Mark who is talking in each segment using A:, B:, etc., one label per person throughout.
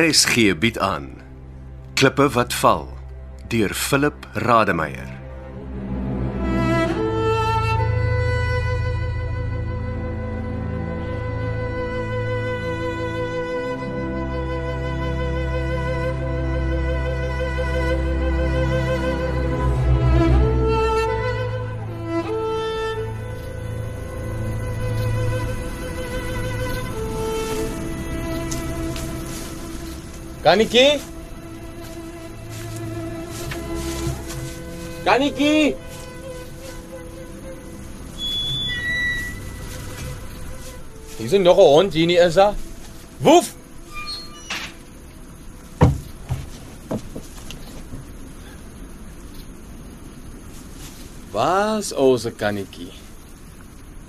A: RSG bied aan Klippe wat val deur Philip Rademeier.
B: Kanetjie? Kanetjie? Hier is nog 'n hond hier nie is daar. Woef! Was ons 'n kanetjie?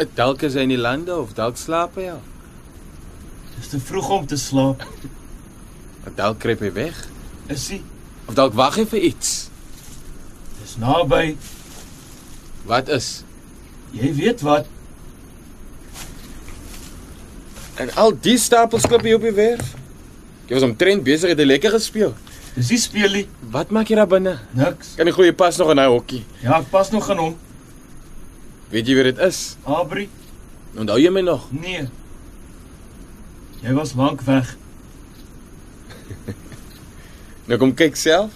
B: Ek dalk is hy in die lande of dalk slaap hy al.
C: Dis te vroeg om te slaap.
B: Ek dalk kruip hy weg
C: Is hy?
B: of dalk wag hy vir iets.
C: Dis naby.
B: Wat is?
C: Jy weet wat?
B: En al die stapels klippe hier op die werf. Jy was omtrent besig het jy lekker gespeel.
C: Dis nie speelie
B: Wat maak jy daar binne?
C: niks.
B: Kan die goeie pas nog in daai hokkie.
C: Ja, ek pas nog aan hom.
B: Weet jy wie dit is?
C: Abri?
B: Onthou jy my nog?
C: Nee. Jy was lank weg.
B: Nou kom kyk self.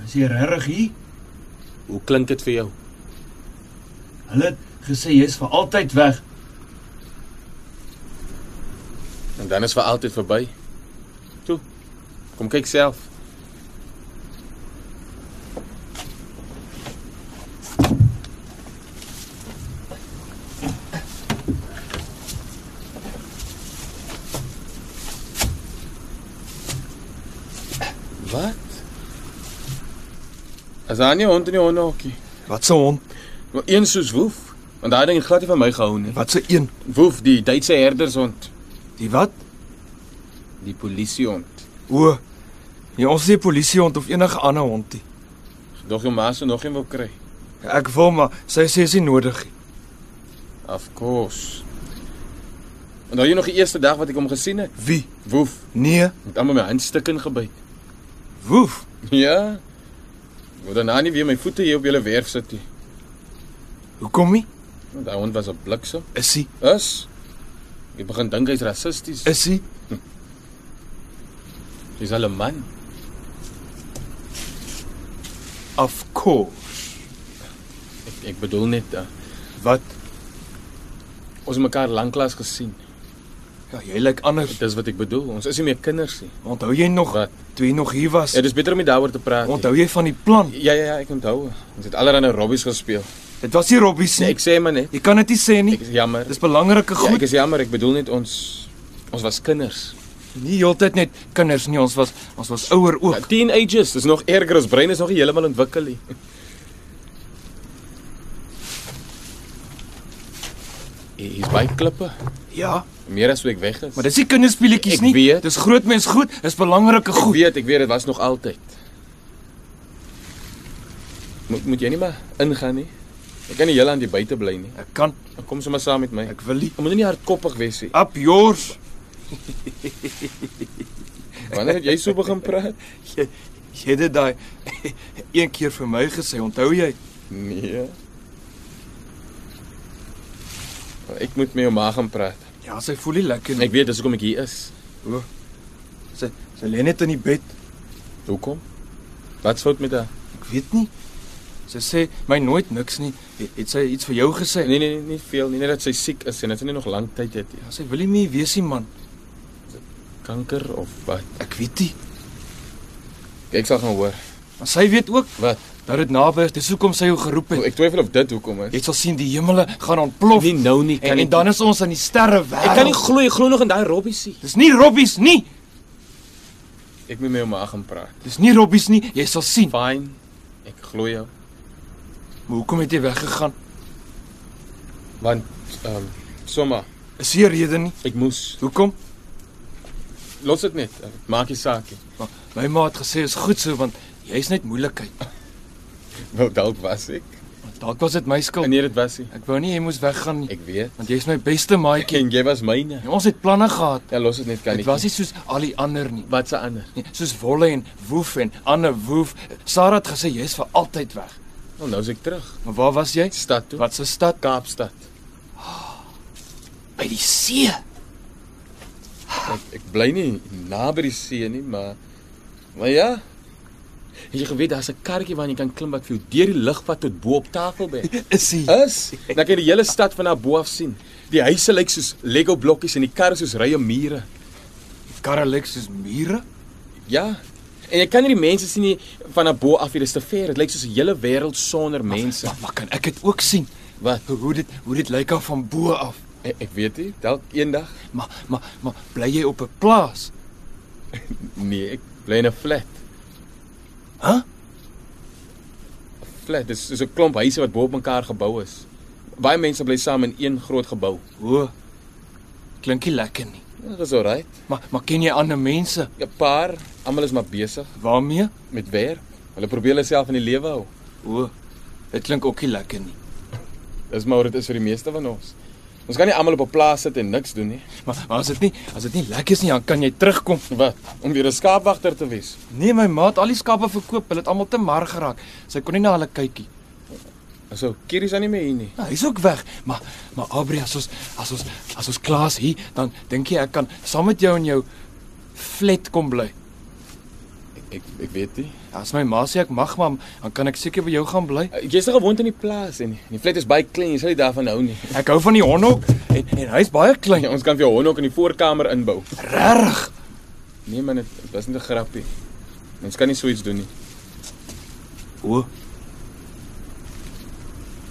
C: Was jy regtig hier?
B: Hoe klink dit vir jou?
C: Hulle het gesê jy's vir altyd weg.
B: En dan is vir altyd verby. Toe. Kom kyk self. Wat? As aan nie hond in die hondehokkie.
D: Wat se hond?
B: Maar een soos woef, want daai ding het glad nie van my gehou nie.
D: Wat se een?
B: Woef, die Duitse herdershond,
D: Die wat?
B: die polisiehond.
D: O. Ja, ons is nie polisiehond of enige ander hond nie.
B: Dog jou ma se nog een wil kry.
D: Ek wil maar sy sê is nie nodig nie.
B: Of course. En daai nog die eerste dag wat ek hom gesien het,
D: Wie?
B: woef,
D: Nee,
B: het almal my handstukke ingebyt.
D: woef.
B: Ja. Wou daarna nie weer my voete hier op julle werf sit nie.
D: Hoekom nie?
B: Want daai hond was 'n bliksem.
D: Is hy?
B: Is. Ek begin dink hy's rassisties.
D: Is hy?
B: Hy's al 'n man.
D: Of course.
B: Ek, ek bedoel net, uh,
D: Wat?
B: ons het mekaar lanklaas gesien.
D: Ja, jy lyk anders.
B: Dis wat ek bedoel. Ons is nie meer kinders nie.
D: Onthou jy nog
B: Wat?
D: toe jy nog hier was?
B: Ja, dis beter om nie daaroor te praat nie.
D: Onthou jy van die plan?
B: Ja ja ja, ek onthou. Ons het allerlei robbies gespeel.
D: Dit was nie robbies
B: Nee,
D: nie.
B: ek sê maar net.
D: Jy kan dit nie sê nie.
B: Ek is jammer.
D: Dis belangrike
B: Ja, ek
D: goed.
B: is jammer, ek bedoel net ons ons was kinders.
D: Nie heeltyd net kinders nie, ons was ons was ouer
B: Ja,
D: ook.
B: teenagers, dis nog erger, ons brein is nog nie heeltemal ontwikkel nie. Hier is baie klippe.
D: Ja,
B: Meer as wat ek weg is.
D: maar dis nie
B: Ek
D: kinderspelletjies nie.
B: weet.
D: Dis groot mens goed, dis belangrike
B: ek
D: goed.
B: weet, ek weet dit was nog altyd. Moet moet jy nie maar ingaan nie. Ek kan nie heel aan die buite bly nie.
D: Ek kan
B: Kom sommer saam met my.
D: ek wil nie
B: Ek moet nie hardkoppig wees nie.
D: Up yours.
B: Wanneer het jy so begin praat?
D: Jy, jy het dit daai een keer vir my gesê, onthou jy?
B: Nee. Ek moet met jou ma gaan praat.
D: Ja, sy voel nie lekker
B: Ek weet dis hoekom ek hier is.
D: Sy sy lê net in die bed.
B: Hoekom? Wat's fout met haar?
D: Ek weet nie. Sy sê my nooit niks nie. Het, het sy iets vir jou gesê?
B: Nee nee nee, nie veel nie, net dat sy siek is en dat sy nie nog lank tyd het nie.
D: Ja, sy wil nie meer wees nie, man.
B: Kanker of wat?
D: Ek weet nie.
B: Ek sal gaan hoor.
D: Maar sy weet ook
B: Wat?
D: dat dit naby is. Dis hoekom sy jou geroep
B: O,
D: het.
B: Ek twyfel of dit hoekom is.
D: Jy sal sien die hemele gaan ontplof.
B: Nie nou nie, kan
D: en,
B: nie.
D: en dan is ons aan die sterre wêreld.
B: Ek kan nie glo jy glo nog in daai robbiesie.
D: Dis nie robbies nie.
B: Ek moet met jou ma gaan praat.
D: Dis nie robbies nie. Jy sal sien.
B: Fine. Ek glo jou.
D: Maar hoekom het jy weggegaan?
B: Want ehm um, sommer,
D: Is hier rede nie?
B: ek moes.
D: Hoekom?
B: Los dit net. Ek Maak nie saak nie.
D: Maar my ma het gesê is goed so want jy's net moeilikheid.
B: Wel dalk was ek.
D: Want Dalk was dit my skuld.
B: Nee, dit was hy.
D: Ek wou nie jy moes weggaan nie,
B: Ek weet.
D: want jy's my beste maatjie.
B: En jy was myne.
D: En Ons het planne gehad.
B: Ja, los dit net kan
D: Dit was nie soos al die ander nie.
B: wat se ander.
D: Nee, soos Wolle en Woef en Anne Woef. Sarah het gesê jy's vir altyd weg.
B: Nou, nou is ek terug.
D: Maar waar was jy?
B: Stad toe.
D: Wat se stad?
B: Kaapstad.
D: By die see.
B: Ek, ek bly nie naby die see nie, maar maar ja. Het Jy geweet daar's 'n karretjie waarna jy kan klim wat vir jou deur die lug vat tot bo op Tafelberg.
D: Is hy?
B: Is. Dan kan jy die hele stad van daar bo af sien. Die huise lyk soos Lego blokkies en die karre soos rye mure.
D: Karre lyk soos mure.
B: Ja. En jy kan nie die mense sien nie van daar bo af hier, dis te ver. Dit lyk soos 'n hele wêreld sonder mense.
D: Maar, maar kan ek dit ook sien?
B: Wat?
D: Hoe- Hoe dit hoe dit lyk af van bo af.
B: Ek, E, ek weet nie, dalk eendag.
D: Maar maar maar bly jy op 'n plaas?
B: Nee, ek bly in 'n flat.
D: Huh?
B: 'n Flat, dis soos 'n klomp huise wat bo op mekaar gebou is. Baie mense bly saam in een groot gebou.
D: O. Klink nie lekker nie.
B: Ja, Dis alright.
D: Maar maar ken jy ander mense?
B: 'n Paar, almal is maar besig
D: Waarmee?
B: met werk. Hulle probeer hulle self in die lewe hou.
D: O. Dit klink ook nie lekker nie.
B: Dis maar hoe dit is vir die meeste van ons. Ons kan nie almal op 'n plaas sit en niks doen nie.
D: Maar, maar as dit nie as dit nie lekker is nie, dan kan jy terugkom.
B: Wat? Om weer 'n skaapwagter te wees.
D: Nee my maat, al die skape verkoop, hulle het almal te mar geraak. Sy kon nie na hulle kykie.
B: Aso, Kieries aan nie meer hier nie.
D: Nou, hy's ook weg, maar maar Aubrey, as ons as ons as ons klaas hier, dan dink jy ek kan saam met jou in jou flat kom bly. Ja,
B: Ek ek, ek weet nie.
D: As my ma sê ek mag maar, dan kan ek seker by jou gaan bly.
B: Eh, Jy's nog gewoond aan die plaas en die flat is baie klein, jy sal nie daarvan hou nie.
D: Ek hou van die hondhok en en hy's baie klein.
B: Ja, ons kan vir jou hondhok in die voorkamer inbou.
D: Regtig.
B: Nee man, dit dit was net 'n grappie. Mens kan nie so iets doen nie.
D: O.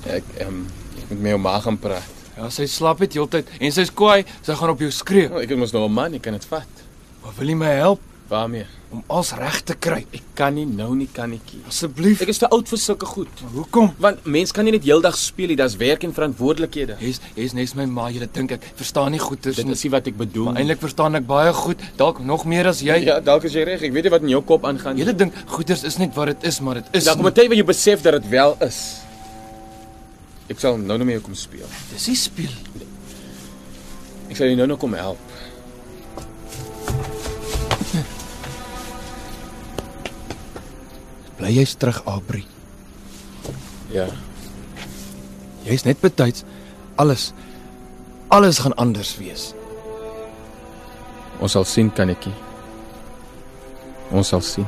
B: Ek ehm um, ek moet met jou ma gaan praat.
D: Ja, sy slaap dit heeltyd en sy's kwaai, sy gaan op jou skree.
B: Nou, ek is mos nou 'n man, ek kan dit vat.
D: Maar wil jy my help
B: Waarmee?
D: om alles reg te kry?
B: Ek kan nie nou nie kannetjie.
D: Asseblief.
B: Ek is te oud vir sulke goed.
D: Hoekom?
B: Want mens kan nie net heeldag speel nie, daar's werk en verantwoordelikhede.
D: Jy's jy's net my ma, jy dink ek verstaan nie goed
B: Dit
D: tussen
B: is nie wat ek bedoel
D: Maar
B: nie.
D: eintlik verstaan ek baie goed, dalk nog meer as jy.
B: Ja, dalk is jy reg. Ek weet nie wat in jou kop aangaan nie.
D: Julle dink goeders is net wat dit is, maar dit is
B: Daar kom 'n tyd waar jy besef dat dit wel is. Ek sal nou nog mee kom speel.
D: dis nie speel.
B: Ek sal jou nou nog kom help.
D: Bly jy's terug, Aubrey.
B: Ja.
D: Jy's net betyds alles alles gaan anders wees.
B: Ons sal sien kannetjie. Ons sal sien.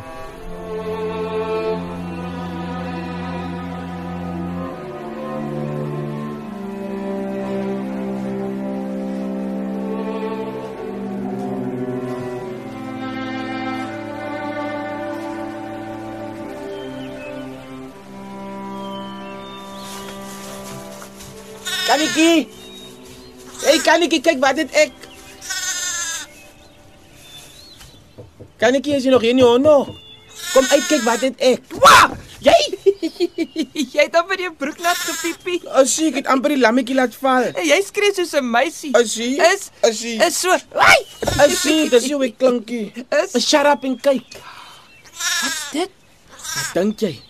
E: Kannetjie. Hey Kannetjie, kyk wat dit ek. Kannetjie, is jy nog hier nie hono? Kom uit kyk wat dit ek. Wa! Jy,
F: Jy het amper jou broek nat gepiepie.
E: as ek het amper die lammetjie laat val.
F: En jy skree soos 'n meisie.
E: Asie,
F: Is
E: asie.
F: Is so. Ai!
E: As ek, dis jou klankie.
F: Is
E: Shut up en kyk.
F: dit?
E: Wat dink jy?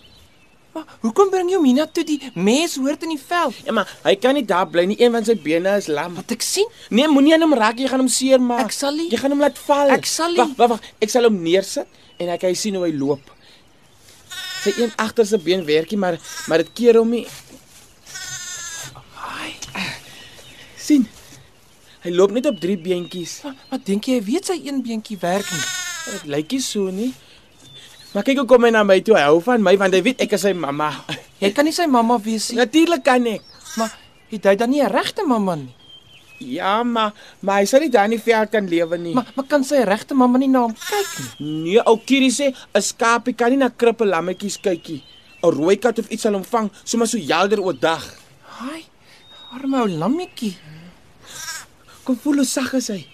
F: Maar hoekom bring jou Mina toe die mens hoort in die veld?
E: Ja, maar hy kan nie daar bly nie. Een van sy bene is lam.
F: Wat ek sien?
E: Nee, moenie aan hom raak, jy gaan hom seermaak.
F: Ek sal nie.
E: Jy gaan hom laat val.
F: Ek sal nie.
E: Wag, wag, wag. Ek sal hom neersit en ek hy sien hoe hy loop. Sy een agterste been werkie, maar maar dit keer hom nie.
F: Ai.
E: sien. Hy loop net op drie beentjies.
F: Wat, wat dink jy hy weet sy een beentjie werk nie?
E: Dit lyk nie so nie. Maar kyk hoe kom hy na my toe. Hy hou van my want hy weet ek is sy mamma.
F: Jy kan nie sy mamma wees nie.
E: Natuurlik kan ek.
F: Maar het hy dan nie 'n regte mamma nie?
E: Ja, maar maar hy sal nie daar in die veld kan lewe nie.
F: Maar maar kan sy regte mamma nie na hom kyk nie?
E: Nee, ou Kiri sê 'n skaapie kan nie na krippelammetjies kykie. 'n Rooi kat of iets sal hom vang, sommer so helder oor dag.
F: Ai. Arme ou lammetjie.
E: Kom voel hoe sag is hy.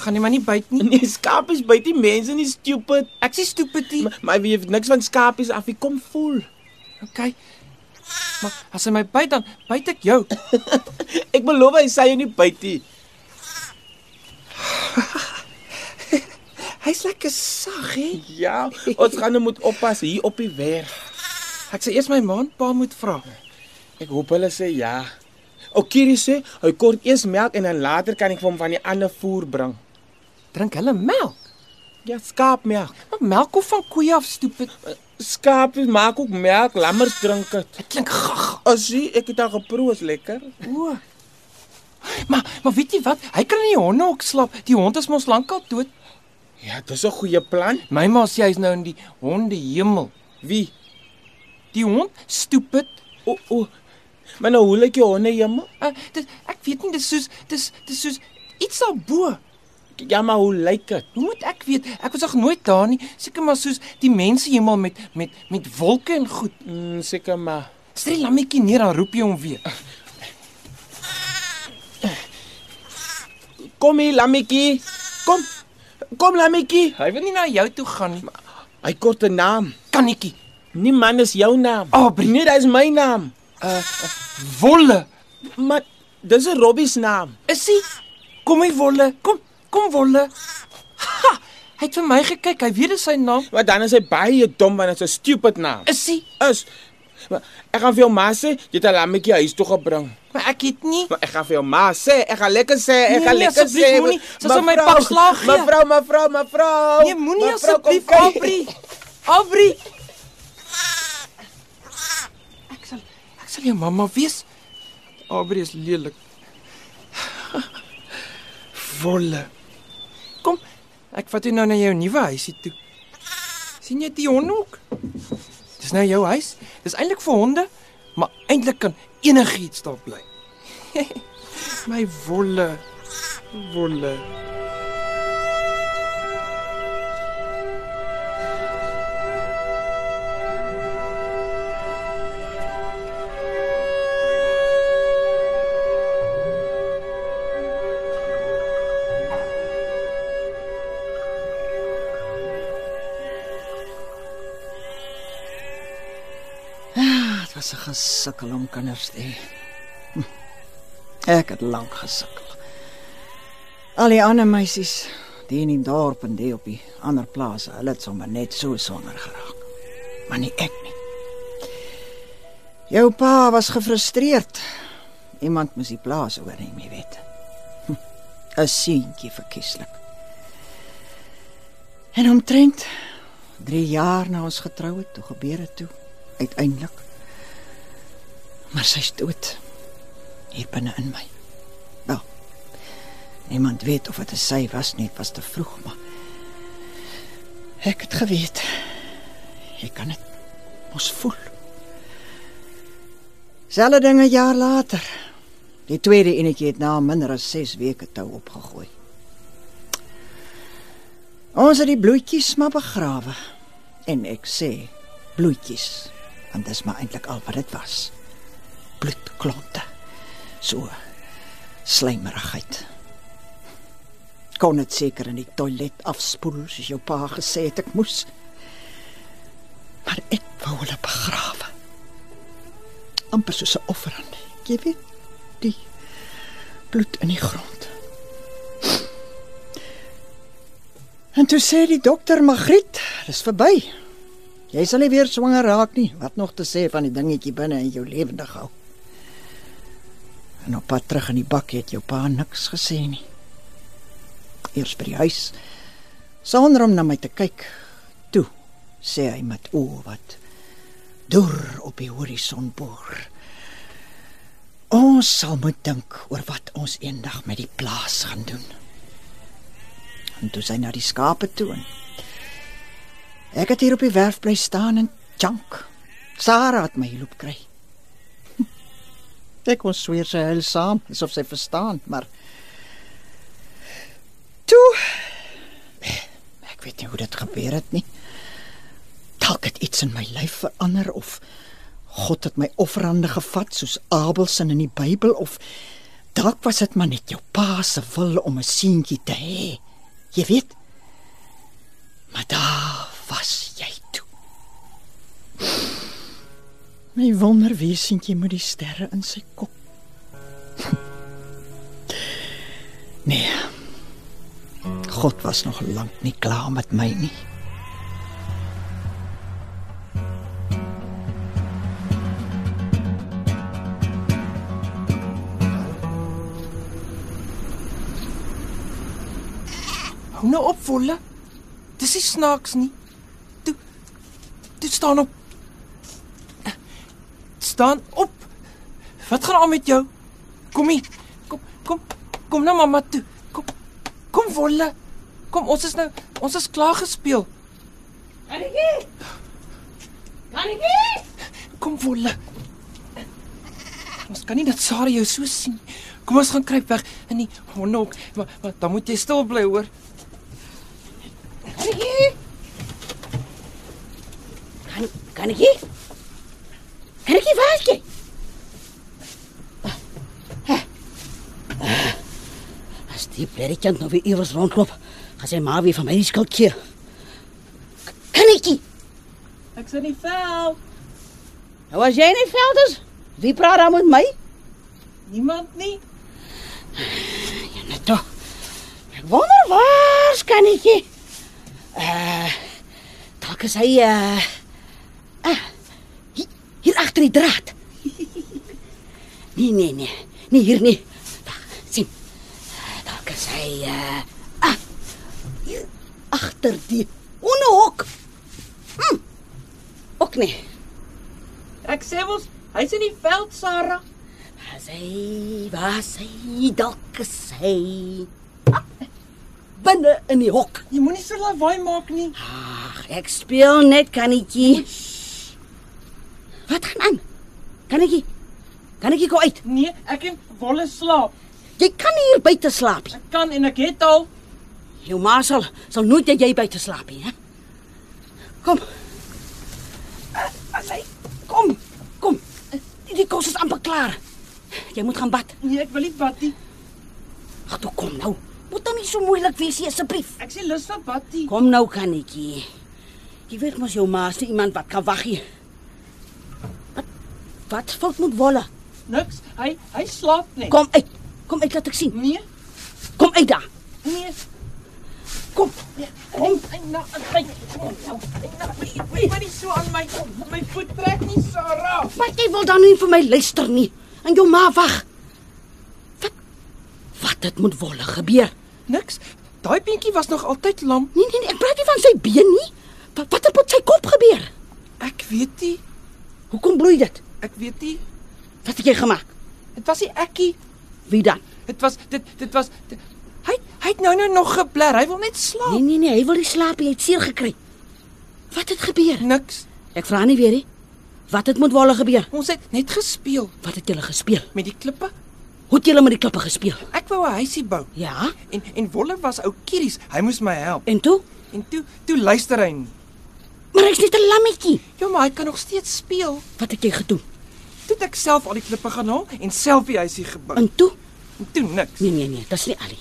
F: Gaan nie maar nie byt nie.
E: Nee, skapies byt nie mense nie, stupid.
F: Ek sê stupidie.
E: Maar, maar wie weet niks van skapies af, hy kom voel.
F: Okay. Maar as hy my byt dan byt ek jou.
E: Ek beloof hy sal jou nie byt nie.
F: Hy's lekker sag, hè?
E: Ja, ons gaan hom moet oppas hier op die werf.
F: Ek sê eers my maanpa moet vra.
B: Ek hoop hulle sê ja. Okiri sê hy kort eers melk en dan later kan ek vir hom van die ander voer bring.
F: Drink hulle melk.
B: Ja, skaapmelk.
F: Maar Nou, melk kom van koeie af, stupid.
B: Skaapie maak ook melk, lammers drink dit.
F: Dit klink gag.
B: Asie, ek het al geproe, is lekker.
F: O. Maar maar weet jy wat? Hy kan in die hondehok slaap. Die hond is mos lankal dood.
B: Ja, dis 'n goeie plan.
F: My ma sê hy's nou in die hondehemel.
B: Wie?
F: Die hond, stupid.
B: O, o. Maar nou hoe lyk jou honde jemma?
F: Uh, dit, ek weet nie dis soos dis dis soos iets daarbo.
B: Ja, maar hoe lyk dit?
F: Hoe moet ek weet? Ek was nog nooit daar nie. Seker maar soos die mense hemel met met met wolke en goed.
B: Mm, seker maar.
F: Stel die lammetjie neer dan roep jy hom weer.
B: Kom hier, lammetjie. Kom. Kom lammetjie.
F: Hy wil nie na jou toe gaan nie.
B: Hy kort 'n naam.
F: Kannetjie.
B: Nie man is jou naam.
F: Aubrey.
B: Nee, dit is my naam.
F: Wolle.
B: Maar dis 'n Robbie se naam.
F: Is hy? Kom hier Wolle. Kom, kom Wolle. Ha! Hy het vir my gekyk. Hy weet dis sy naam.
B: Maar dan is hy baie dom want dit is 'n stupid naam.
F: Is hy?
B: Is Maar ek gaan vir jou ma sê, jy het 'n lammetjie huis toe gebring.
F: Maar ek het nie.
B: Maar ek gaan vir jou ma sê, ek gaan lekker sê, ek
F: Nee,
B: gaan
F: nee,
B: lekker
F: asseblief,
B: sê.
F: moenie. Sy
B: Mevrou,
F: sal my pap slaag gee.
B: Mevrou, mevrou, mevrou.
F: Nee, moenie
B: Mevrou, kom
F: asseblief
B: kyk.
F: Aubrey. Aubrey. Ek sal ek sal jou mamma wees. Aubrey is lelik. Wolle. Kom, ek vat jou nou na jou nuwe huisie toe. sien jy die honhoek? Dis nou jou huis. Dis eintlik vir honde, maar eintlik kan enigiets daar bly. My wolle. Wolle.
G: Dit was 'n gesukkel om kinders te hê. Hm. Ek het lank gesukkel. Al die ander meisies, die in die dorp en die op die ander plase, hulle het sommer net so sonder geraak. Maar nie ek nie. Jou pa was gefrustreerd. Iemand moes die plaas oorneem, jy weet. Hm. 'n Seentjie verkieslik. En omtrent 3 jaar na ons getrou het, toe gebeur dit toe uiteindelik. Maar sy's dood. Hier binne in my. Wel. Niemand weet of dit sy was nie, het was te vroeg, maar ek het geweet. Ek kan dit mos voel. Selfde dinge jaar later. Die tweede enetjie het na minder as 6 weke tou opgegooi. Ons het die bloetjies maar begrawe. En ek sê, bloetjies, want dis maar eintlik al wat dit was. Bloedklonte. So slijmerigheid. Kon dit seker in die toilet afspoel soos jou pa gesê het ek moes. Maar ek wou hulle begrawe. amper soos 'n offerande. Jy weet, die bloed in die grond. En toe sê die dokter Magriet, dis verby. Jy sal nie weer swanger raak nie. Wat nog te sê van die dingetjie binne in jou lewendig hou. En op pad terug in die bak het jou pa niks gesê nie. Eers by die huis sonder om na my te kyk. Toe sê hy met oë wat deur op die horison boor. Ons sal moet dink oor wat ons eendag met die plaas gaan doen. En toe sy na die skape toe en Ek het hier op die werf bly staan en jank. Sarah het my loop kry. Ek kon sweer sy huil saam, asof sy verstaan, maar toe ek weet nie hoe dit gebeur het nie. Dalk het iets in my lyf verander of God het my offerande gevat soos Abel se in die Bybel of dalk was dit maar net jou pa se wil om 'n seentjie te hê. Jy weet, Maar daar was jy toe. My wonderwesentjie met die sterre in sy kop. Nee. God was nog lank nie klaar met my nie.
F: Hou nou op, Wolle. Dis nie snaaks nie. Toe toe staan op. Staan op. Wat gaan aan met jou? Kom hier. Kom kom kom na mamma toe. Kom kom Wolle. Kom ons is nou ons is klaar gespeel.
G: Annetjie! Annetjie!
F: Kom Wolle. Ons kan nie dat Sarah jou so sien. Kom ons gaan kruip weg in die hondehok, maar, maar dan moet jy stil bly hoor.
G: Annetjie! Kan Kannetjie? Kannetjie, waar is jy? Ah. Ah. As die predikant nou weer iewers rondloop, gaan sy maar weer van my die skuld keer. Kannetjie!
H: Ek's in die vel.
G: Nou as jy in die veld is, wie praat dan met my?
H: Niemand nie.
G: Net toe. Ek wonder waar skannetjie. Uh, dalk is hy uh, ah, hi- hier agter die draad. Nee, nee, nee. Nee, hier nie. Daar, sien. Dalk is hy uh, ah, hier agter die onderhok. Hm. nee. Ook nie.
H: Ek sê mos, hy's in die veld, Sarah.
G: As hy was hy dalk is hy ah, binne in die hok.
F: Jy moenie so lawaai maak nie.
G: Ag, ek speel net kannetjie. Wat gaan aan? Kannetjie. Kannetjie kom uit.
H: Nee, ek en Wolle slaap.
G: Jy kan nie hier buite slaap nie.
H: Ek kan en ek het al.
G: Jou ma sal sal nooit dat jy buite slaap nie, hè? Kom. Ah, As hy kom. Kom. Die, die kos is amper klaar. Jy moet gaan bad.
H: Nee, ek wil nie bad nie.
G: Ag, toe kom nou. Moet dan nie so moeilik wees nie asseblief.
H: Ek sê lus vir bad nie.
G: Kom nou kannetjie. Jy weet mos jou ma is nie iemand wat kan wag nie. Wat wat fout moet wolle?
H: Niks. Hy hy slaap net.
G: Kom uit. Kom uit laat ek sien.
H: Nee,
G: Kom uit daar.
H: nee.
G: Kom.
H: Kom, en nou, kyk. Kom nou. En nou, moenie moenie so aan my my voet trek nie, Sarah.
G: Maar jy wil dan nie vir my luister nie. En jou ma wag. Wat wat het moet wolle gebeur?
F: Niks. Daai beentjie was nog altyd lam.
G: Nee nee, nee ek praat nie van sy been nie. Wat wat het met sy kop gebeur?
F: Ek weet nie.
G: Hoekom bloei dit?
F: Ek weet nie.
G: Wat het jy gemaak?
F: Dit was nie ekkie.
G: Wie dan?
F: Dit was dit dit was dit, hy hy het nou nou nog gebler. Hy wil net slaap.
G: Nee nee nee, hy wil nie slaap nie. Hy het seer gekry. Wat het gebeur?
F: Niks.
G: Ek vra nie weer nie. Wat het met wolle gebeur?
F: Ons het net gespeel
G: Wat het julle gespeel?
F: met die klippe.
G: Hoe het julle met die klippe gespeel?
F: Ek wou 'n huisie bou
G: Ja.
F: en en Wolle was ou kieries. Hy moes my help.
G: En toe?
F: En toe toe luister hy nie.
G: Maar ek's net 'n lammetjie.
F: Ja, maar hy kan nog steeds speel.
G: Wat het jy gedoen?
F: Toe het ek self al die klippe gaan haal en self die huisie gebou. En,
G: En toe?
F: en toe niks.
G: Nee nee nee, dis nie al nie.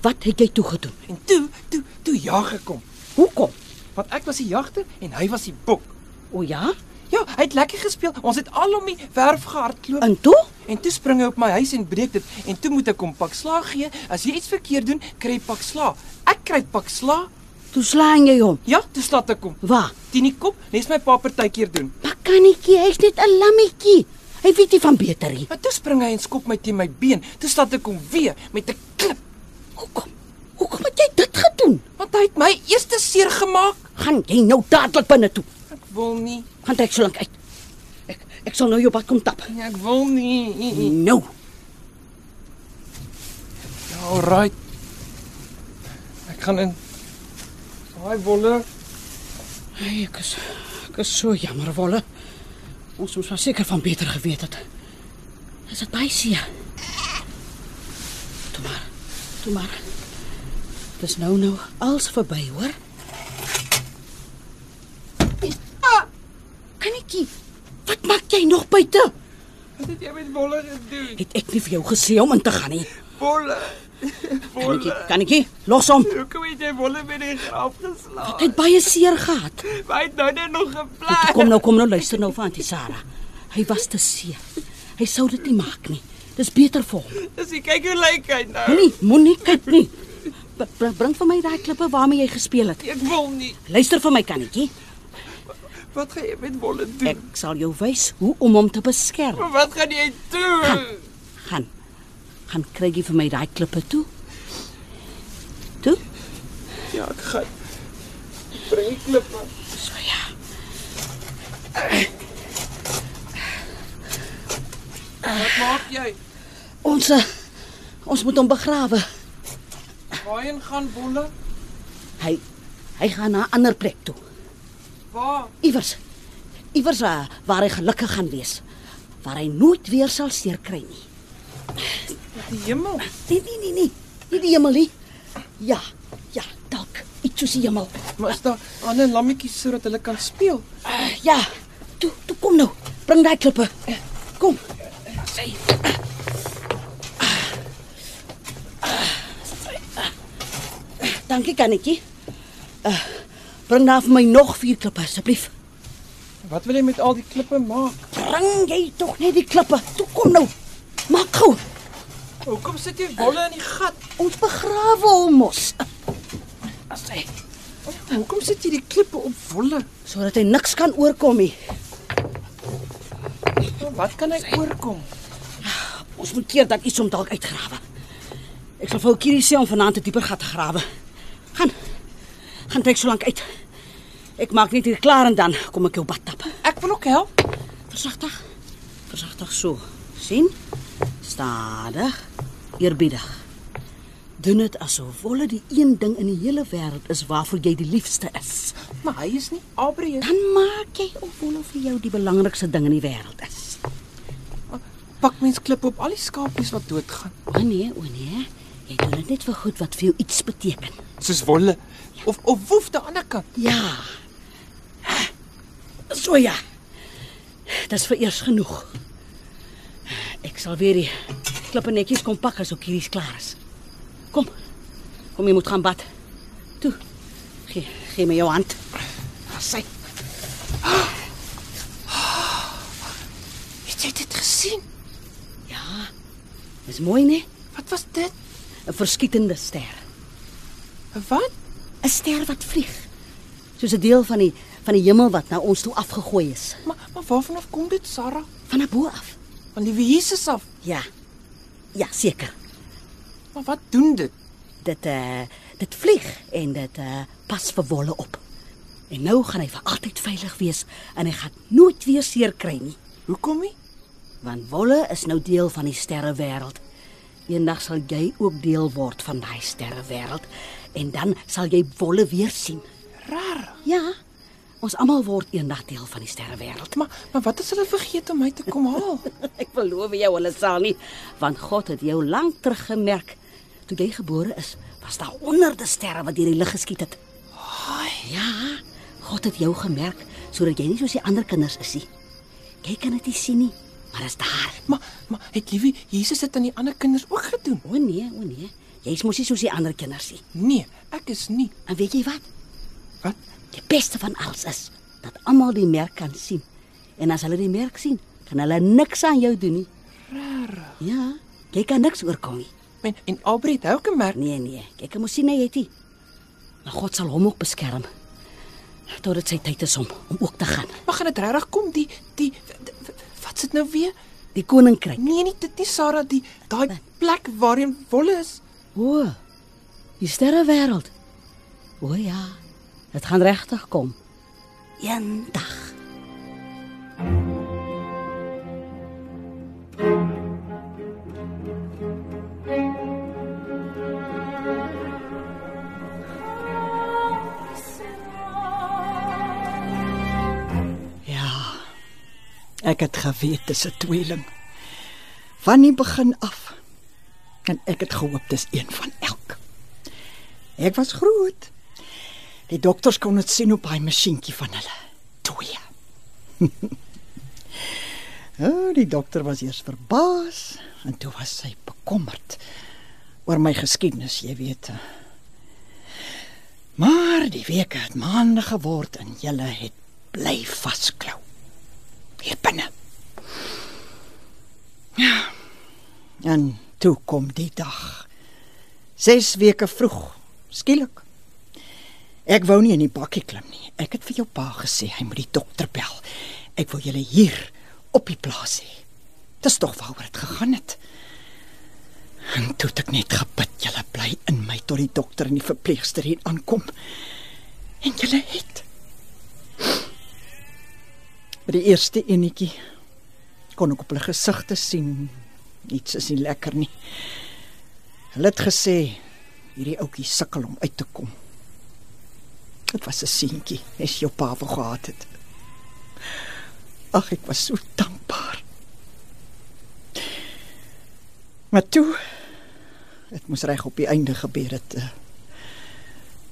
G: Wat het jy toe gedoen?
F: En toe toe toe jag gekom.
G: Hoekom?
F: Want ek was die jagter en hy was die bok.
G: O ja.
F: Ja, hy het lekker gespeel. Ons het al om die werf gehardloop.
G: En toe?
F: En toe spring hy op my huis en breek dit en toe moet ek hom pak slaag gee. As jy iets verkeerd doen, kry jy pak slaag. Ek kry pak slaag.
G: Toe slaan jy hom.
F: Ja, toe slaat ek hom.
G: Waar?
F: Teen die kop, nes my pa partykeer doen.
G: Maar kannetjie, hy's net 'n lammetjie. Hy weet nie van beter nie.
F: Maar toe spring hy en skop my teen my been. Toe slaat ek hom weer met 'n klip,
G: Hoekom? Hoekom het jy dit gedoen?
F: want hy het my eerste seer gemaak.
G: Gaan jy nou dadelik binne toe?
F: Ek wil nie.
G: Gaan trek so lank uit. Ek ek sal nou jou bad kom tap.
F: Nee, Ek wil nie.
G: Nou.
F: Alraai. Ek gaan in. Daai wolle.
G: Hey, ek is ek is so jammer wolle. Ons moes seker van beter geweet het. Is dit baie seer? Toe maar. Toe maar. Dis nou nou als verby, hoor. Ah! Kanetjie, wat maak jy nog buite?
F: Wat het jy met wolle gedoen?
G: Het ek nie vir jou gesê om in te gaan nie.
F: Wolle. Ja.
G: Kanetjie, kanetjie, los hom.
F: Hoekom het jy wolle met die graf geslaag?
G: Hy het baie seer gehad.
F: Hy het nou net nog
G: Toe,
F: geplaas.
G: Kom nou, kom nou, luister nou vir Auntie Sarah. Hy was te seer. Hy sou dit nie maak nie. Dis beter vir hom.
F: Dis jy kyk hoe lyk hy nou.
G: Moenie, moenie kyk nie. B- Bring, bring vir my daai klippe waarmee jy gespeel het.
F: Ek wil nie.
G: Luister vir my kannetjie.
F: Wat gaan jy met wolle
G: Ek sal jou wys hoe om hom te beskerm.
F: Maar Wat gaan jy doen?
G: Gaan. Gaan kry jy vir my daai klippe toe? Toe.
E: Ja, ek gaan. Bring die klip maar.
I: So ja.
F: Wat maak jy?
I: Ons eh, ons moet hom begrawe.
F: Waarheen gaan Bolle?
I: Hy hy gaan na 'n ander plek toe.
F: Waar?
I: Iewers. Iewers eh, waar hy gelukkig gaan wees. Waar hy nooit weer sal seer kry nie.
F: Die hemel.
I: Nee, nee, nee, nee. Nie die hemel nie. Ja, ja, dalk. Iets soos die hemel.
F: Maar is daar ander lammetjies sodat hulle kan speel?
I: Eh, ja. Toe, toe kom nou. Bring daai klippe. Kom. Sê. Dankie kannetjie. Uh, bring daar vir my nog vier klippe asseblief.
F: Wat wil jy met al die klippe maak?
I: Bring jy tog net die klippe. Toe kom nou. Maak gou.
F: Hoekom sit jy Bolle in die gat?
I: Ons begrawe hom mos
F: Sê. Hoekom sit jy die klippe op Bolle?
I: sodat hy niks kan oorkom nie.
F: Wat kan hy oorkom?
I: Ons moet keer dat iets hom dalk uitgrawe. Ek sal vir ou Kiri sê om vanaand 'n dieper gat te grawe. Gaan. Gaan trek so lank uit. Ek maak net hier klaar en dan kom ek jou bad tap.
F: Ek wil ook help.
I: Versigtig. Versigtig so. sien? Stadig. Eerbiedig. Doen dit asof wolle die een ding in die hele wêreld is waarvoor jy die liefste is.
F: Maar hy is nie Aubrey.
I: Dan maak jy op wolle vir jou die belangrikste ding in die wêreld is.
F: Pak mens klippe op al die skapies wat doodgaan.
I: O nee, o nee. Jy doen dit net vir goed wat vir jou iets beteken.
F: Soos Bolle of of Woef aan die ander kant.
I: Ja. So ja. Dis vir eers genoeg. Ek sal weer die klippe netjies kom pak as ook hierdie klaar is. Kom. Kom jy moet gaan bad. Toe. Gee, gee my jou hand.
F: Sê. Het jy dit gesien?
I: Dis mooi, né?
F: Wat was dit?
I: 'n Verskietende ster.
F: Wat?
I: 'n Ster wat vlieg. Soos 'n deel van die van die hemel wat na ons toe afgegooi is.
F: Maar maar waarvan af kom dit, Sarah?
I: Van bo af.
F: Van die Jesus af.
I: Ja. Ja, seker.
F: Maar wat doen dit?
I: Dit eh dit vlieg en dit eh pas vir wolle op. En nou gaan hy vir altyd veilig wees en hy gaan nooit weer seer kry nie,
F: Hoekom nie?
I: want wolle is nou deel van die sterrewêreld. Eendag sal jy ook deel word van daai sterrewêreld en dan sal jy wolle weer sien.
F: Rar.
I: Ja. Ons almal word eendag deel van die sterrewêreld.
F: Maar maar wat as hulle vergeet om my te kom haal?
I: Ek beloof jou hulle sal nie, want God het jou lank terug gemerk. Toe jy gebore is, was daar honderde sterre wat deur die lug geskiet het. Ja, God het jou gemerk sodat jy nie soos die ander kinders is nie. Jy kan dit nie sien nie, maar dit is daar.
F: maar maar het liewe Jesus dit aan die ander kinders ook gedoen?
I: O nee, o nee. Jy's mos nie soos die ander kinders nie.
F: Nee, ek is nie.
I: En weet jy wat?
F: Wat?
I: Die beste van alles is dat almal die merk kan sien. En as hulle die merk sien, kan hulle niks aan jou doen nie. Rarig. Ja, jy kan niks oorkom nie.
F: Men en Aubrey het hy ook 'n merk.
I: Nee, nee. Kyk, mos sien hy het dit. Maar God sal hom ook beskerm. Totdat sy tyd is om om ook te gaan.
F: Maar gaan dit regtig kom die die wat sit nou weer?
I: Die koninkryk.
F: Nee, nie dit nie Sarah, die
G: Nee.
F: daai plek waarheen Wolle is.
I: O. Die sterrewêreld. O ja. Dit gaan regtig kom. Eendag.
G: Ja. Ek het geweet dis 'n tweeling. Van die begin af. En ek het gehoop dis een van elk. Ek was groot. Die dokters kon dit sien op daai masjienkie van hulle. Twee. oh, die dokter was eers verbaas en toe was sy bekommerd oor my geskiedenis, jy weet. eh. Maar die weke het maande geword en julle het bly vasklou. Hier binne. Ja. En toe kom die dag. 6 weke vroeg, skielik. Ek wou nie in die bakkie klim nie. Ek het vir jou pa gesê hy moet die dokter bel. Ek wil julle hier op die plaas hê. Dis tog waaroor dit gegaan het. En toe het ek net gebid, Julle bly in my tot die dokter en die verpleegster hier aankom. En julle het by die eerste enetjie kon ek op hulle gesigte sien iets is nie lekker nie. Hulle het gesê hierdie ouetjie sukkel om uit te kom. Dit was 'n seentjie, as jou pa wou gehad het. Ag, ek was so dankbaar. Maar toe Dit moes reg op die einde gebeur het. eh,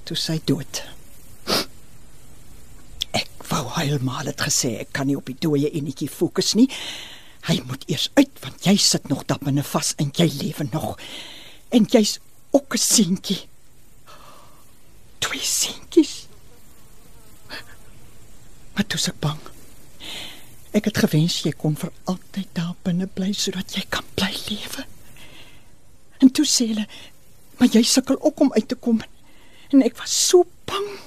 G: Toe sy dood. Ek wou heeltemal het gesê ek kan nie op die dooie enetjie fokus nie. Hy moet eers uit want jy sit nog daar binne vas en jy lewe nog. En jy's ook 'n seentjie. Twee seentjies. Maar toe se bang. Ek het gewens jy kon vir altyd daar binne bly sodat jy kan bly lewe. En toe sê hulle, "Maar jy sukkel ook om uit te kom." En ek was so bang.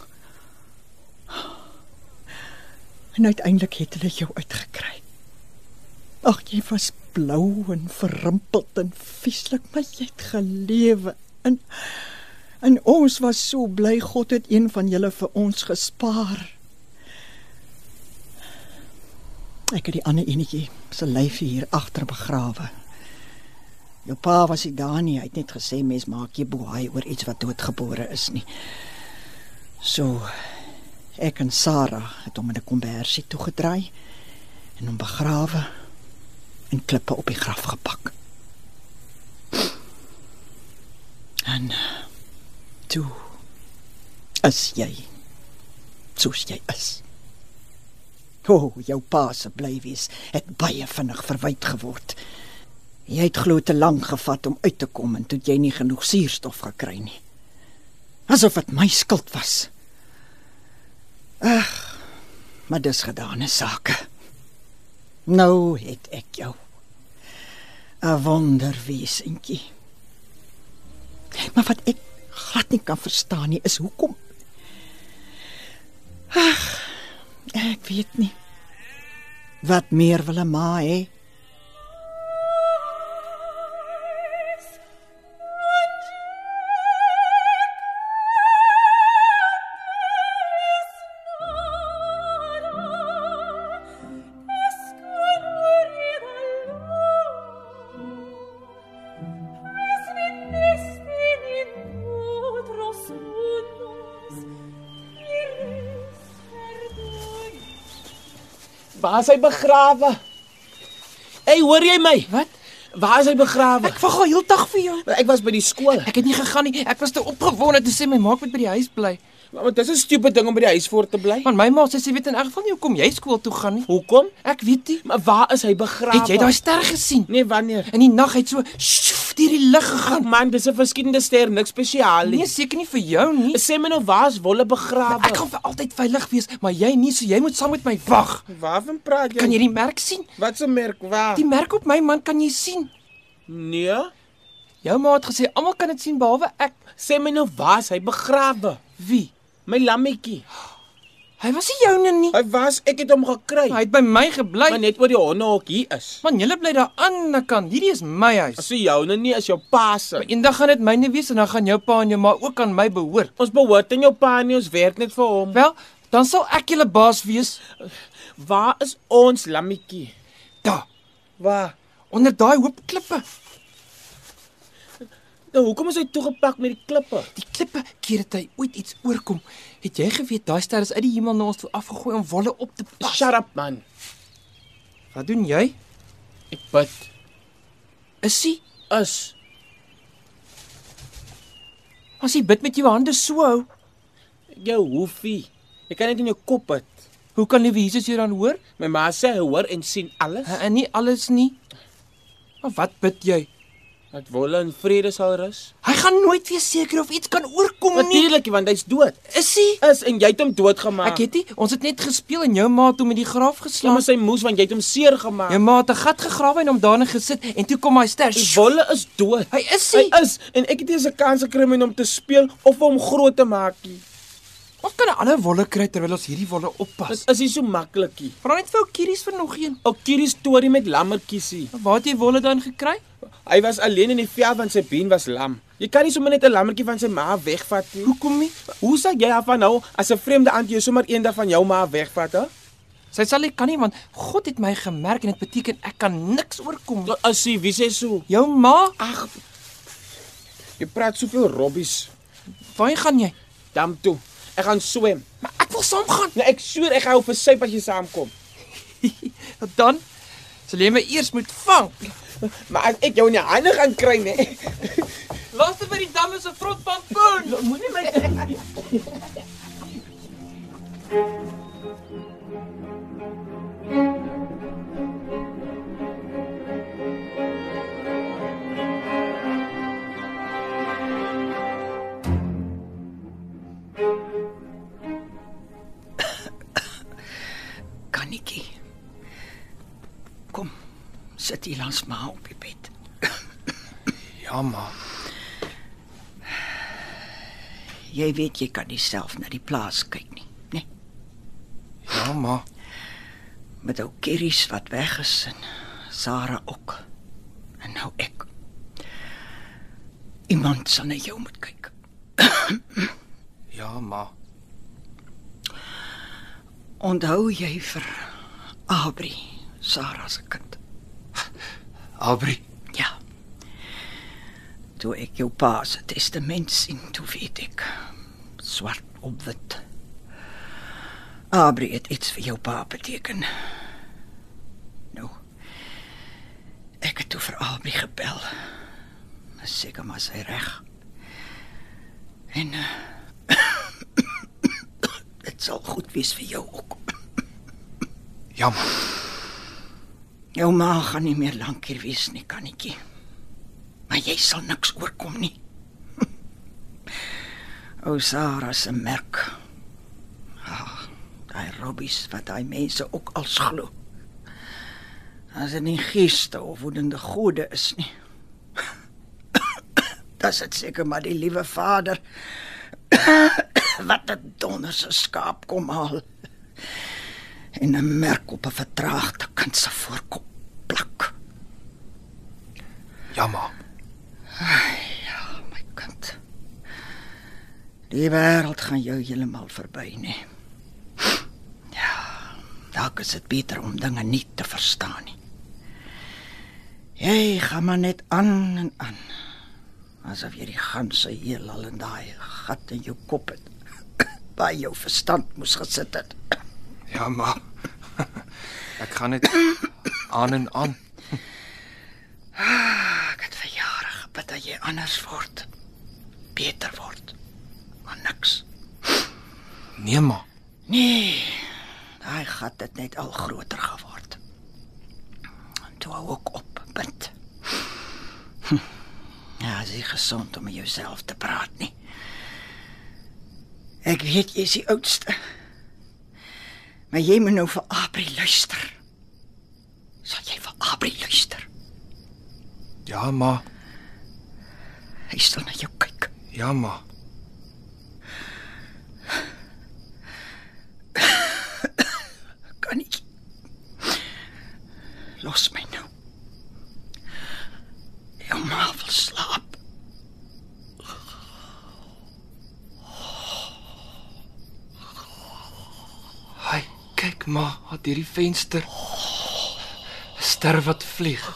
G: En uiteindelik het hulle jou uitgekry. Ag, jy was blou en verrimpeld en vieslik, maar jy het gelewe. En en ons was so bly God het een van julle vir ons gespaar. Ek het die ander enetjie se lyfie hier agter begrawe. Jou pa was nie daar nie. Hy het net gesê mens maak jy boei oor iets wat doodgebore is nie. So ek en Sarah het hom in 'n kombersie toegedraai en hom begrawe en klippe op die graf gepak. En toe as jy soos jy is. O, oh, jou pa se blywees het baie vinnig verwyd geword. Jy het glo te lank gevat om uit te kom en toe het jy nie genoeg suurstof gekry nie. Asof dit my skuld was. Ag, maar dis gedane sake. Nou het ek jou. 'n Wonderwesentjie. Maar wat ek glad nie kan verstaan nie is hoekom Ag, ek weet nie. Wat meer wil 'n ma hê?
B: Waar is hy begrawe? Hey, hoor jy my?
F: Wat?
B: Waar is hy begrawe?
F: Ek wag al heeldag vir jou.
B: Ek was by die skool.
F: Ek het nie gegaan nie. Ek was te opgewonde toe sê my maak moet by die huis bly.
B: Maar maar dis 'n stupid ding om by die huis voor te bly.
F: Want my ma sê sy weet in elk geval nie hoekom jy skool toe gaan nie.
B: Hoekom?
F: Ek weet nie.
B: Maar waar is hy begrawe?
F: Het jy daai ster gesien?
B: Nee, wanneer?
F: In die nag het so sjoef deur die lug
B: Ag
F: gegaan.
B: man, dis 'n verskillende ster, niks spesiaal nie.
F: Nee, seker nie vir jou nie.
B: Sê my nou waar is Wolle begrawe?
F: Ek gaan vir altyd veilig wees, maar jy nie, so jy moet saam met my wag.
B: Waarvan praat jy?
F: Kan jy die merk sien?
B: Wat se merk waar?
F: Die merk op my man kan jy sien.
B: Nee.
F: Jou ma het gesê almal kan dit sien behalwe ek.
B: Sê my nou waar is hy begrawe?
F: Wie?
B: My lammetjie.
F: Hy was nie joune nie.
B: Hy was ek het hom gekry.
F: Hy het by my gebly.
B: Maar net oor die hondehok hier is.
F: Man, julle bly daar aan die kant. Hierdie is my huis.
B: As jy joune nie as jou pa se.
F: Eendag gaan dit myne wees en dan gaan jou pa en jou ma ook aan my behoort.
B: Ons behoort aan jou pa nie, ons werk net vir hom.
F: Wel, dan sal ek julle baas wees.
B: Waar is ons lammetjie?
F: Daar,
B: Waar?
F: Ja, onder daai hoop klippe.
B: Nou hoekom is hy toegepak met die klippe?
F: Die klippe keer dat hy ooit iets oorkom. Het jy geweet daai ster is uit die hemel na ons toe afgegooi om wolle op te pas?
B: Shut up man.
F: Wat doen jy?
B: Ek bid.
F: Is hy?
B: Is
F: As jy bid met jou hande so hou,
B: jou hoefie. Ek kan net in jou kop het.
F: hoe kan liewe Jesus jou dan hoor?
B: My ma sê hy hoor en sien alles.
F: En nie alles nie. Maar wat bid jy?
B: Dat wolle in vrede sal rus.
F: Hy gaan nooit weer seker of iets kan oorkom nie.
B: Natuurlik, want hy's dood.
F: Is hy?
B: Is en jy het hom doodgemaak.
F: Ek het nie, ons het net gespeel en jou ma het hom in die graaf
B: Ja, maar
F: geslaan.
B: sy moes want jy het hom seer gemaak.
F: Jou ma het 'n gat gegrawe en hom daarin gesit en toe kom hy ster.
B: Die wolle is dood.
F: Hy is
B: Hy
F: hy.
B: is en ek het nie eens 'n kans gekry om hom te speel of hom groot te maak nie.
F: Ons kan 'n ander wolle kry terwyl ons hierdie wolle oppas.
B: Dit is nie so maklik nie.
F: Vra net vir ou Kieries vir nog een.
B: Ou Kierie storie met lammetjies.
F: Waar het jy wolle dan gekry?
B: Hy was alleen in die veld want sy been was lam. Jy kan nie sommer net 'n lammetjie van sy ma wegvat nie. Hoekom nie? Hoe sal jy haar van nou as 'n vreemde aand jou sommer eendag van jou ma wegvat, hè?
F: Sy sal nie kan nie want God het my gemerk en dit beteken ek kan niks oorkom.
B: As jy wie sê so.
F: Jou ma,
B: Ag. Jy praat soveel robbies.
F: waarheen gaan jy?
B: Dam toe. Ek gaan swem.
F: Maar ek wil saamgaan.
B: Nee, ek sweer ek hou vir sy as jy saamkom.
F: Nou Dan sal jy my eers moet vang.
B: Maar as ek jou in die hande gaan kry, nee.
F: Laaste by die dam is 'n vrot pampoen.
B: Moenie my
G: Kannetjie. Kom. Sit hier langs ma op die bed.
F: Ja, ma.
G: Jy weet jy kan nie self na die plaas kyk nie, né? Nee,
F: Ja, ma.
G: met ou kerries wat weg is en Sarah ook. En nou ek. Iemand sal na jou moet kyk.
F: Ja, ma.
G: Onthou jy vir Abri, Sarah se kind?
F: Abri,
G: Ja. Toe ek jou pa se testament sien, toe weet ek swart op wit. Abri het iets vir jou pa beteken. Nou. Ek het toe vir Abri gebel. Is Seker maar sy reg. En eh, dit sal goed wees vir jou ook.
F: ja, ma.
G: Jou ma gaan nie meer lank hier wees nie, kannetjie. Maar jy sal niks oorkom nie. O Sarah se merk. Ah, daai robbies wat daai mense ook als glo. As dit nie geeste of woedende gode is nie. Dis dit seker maar die liewe Vader wat 'n donderse skaap kom haal en 'n merk op 'n vertraagde kind se voorkop plak.
F: Ja, ma.
G: ja, my kind. Die wêreld gaan jou heeltemal verby, nê. Nee. Ja, dalk is dit beter om dinge nie te verstaan nie. Jy gaan maar net aan en aan. Asof jy die ganse heelal in daai gat in jou kop het. By jou verstand moes gesit het.
F: Ja, ma. Ek gaan net aan en aan.
G: Ah, Ek het vir jare gebid dat jy anders word. Beter word. Maar niks.
F: Nee, ma.
G: Nee. Daai gat het net al groter geword. En toe hou ek op bid. Hm. Ja, dit is gesond om met jouself te praat nie. Ek weet jy is die oudste. Maar jy moet nou vir Abri luister. Sal jy vir Abri luister?
F: Ja, ma.
G: Hy staan na jou kyk.
F: Ja, ma.
G: Kan nie. Los my nou. Jou ma wil slaap.
F: Hy kyk, ma, uit hierdie venster. 'n Ster wat vlieg.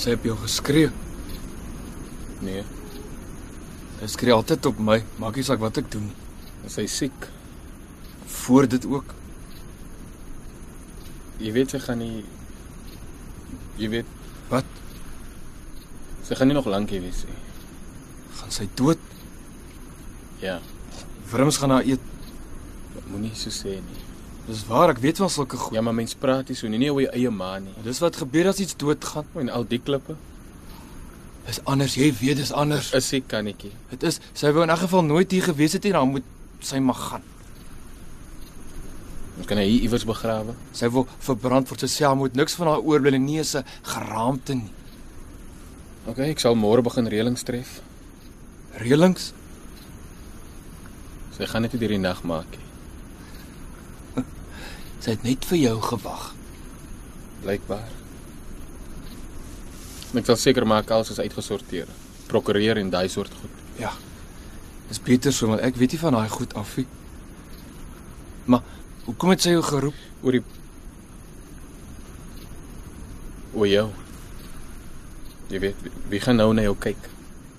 D: Sy het jou geskree.
J: Nee,
D: Sy skree altyd op my, maak nie saak wat ek doen nie.
J: sy is siek.
D: Voor dit ook.
J: Jy weet sy gaan nie jy weet
D: Wat?
J: Sy gaan nie nog lank hier wees nie.
D: Gaan sy dood?
J: Ja,
B: Ja,
D: Wurms gaan haar eet.
J: moenie so sê nie.
D: Dis waar, ek weet van sulke goed.
B: Ja, maar mens praat nie so nie, nie oor jou eie ma nie.
D: Dis wat gebeur as iets doodgaan.
B: En al die klippe
D: Dis anders, jy weet dis anders.
B: is sy kannetjie.
D: Dit is sy wou in 'n geval nooit hier gewees het en dan moet sy maar gaan.
B: Ons kan hy hier iewers begrawe.
D: Sy wil verbrand word. Sy sê haar moet niks van haar oorbly nie, is 'n geraamte nie.
B: OK, ek sal môre begin reëlings tref.
D: Relings?
B: Sy gaan dit nie deur die nag maak nie,
D: Sy het net vir jou gewag.
B: blykbaar. En Ek sal seker maak alles is uitgesorteer. Prokureer en daai soort goed.
D: Ja. Dis beter so want ek weet nie van daai goed af nie. Maar hoekom het sy jou geroep?
B: Oor die oor jou. Jy weet, wie- wie gaan nou na jou kyk?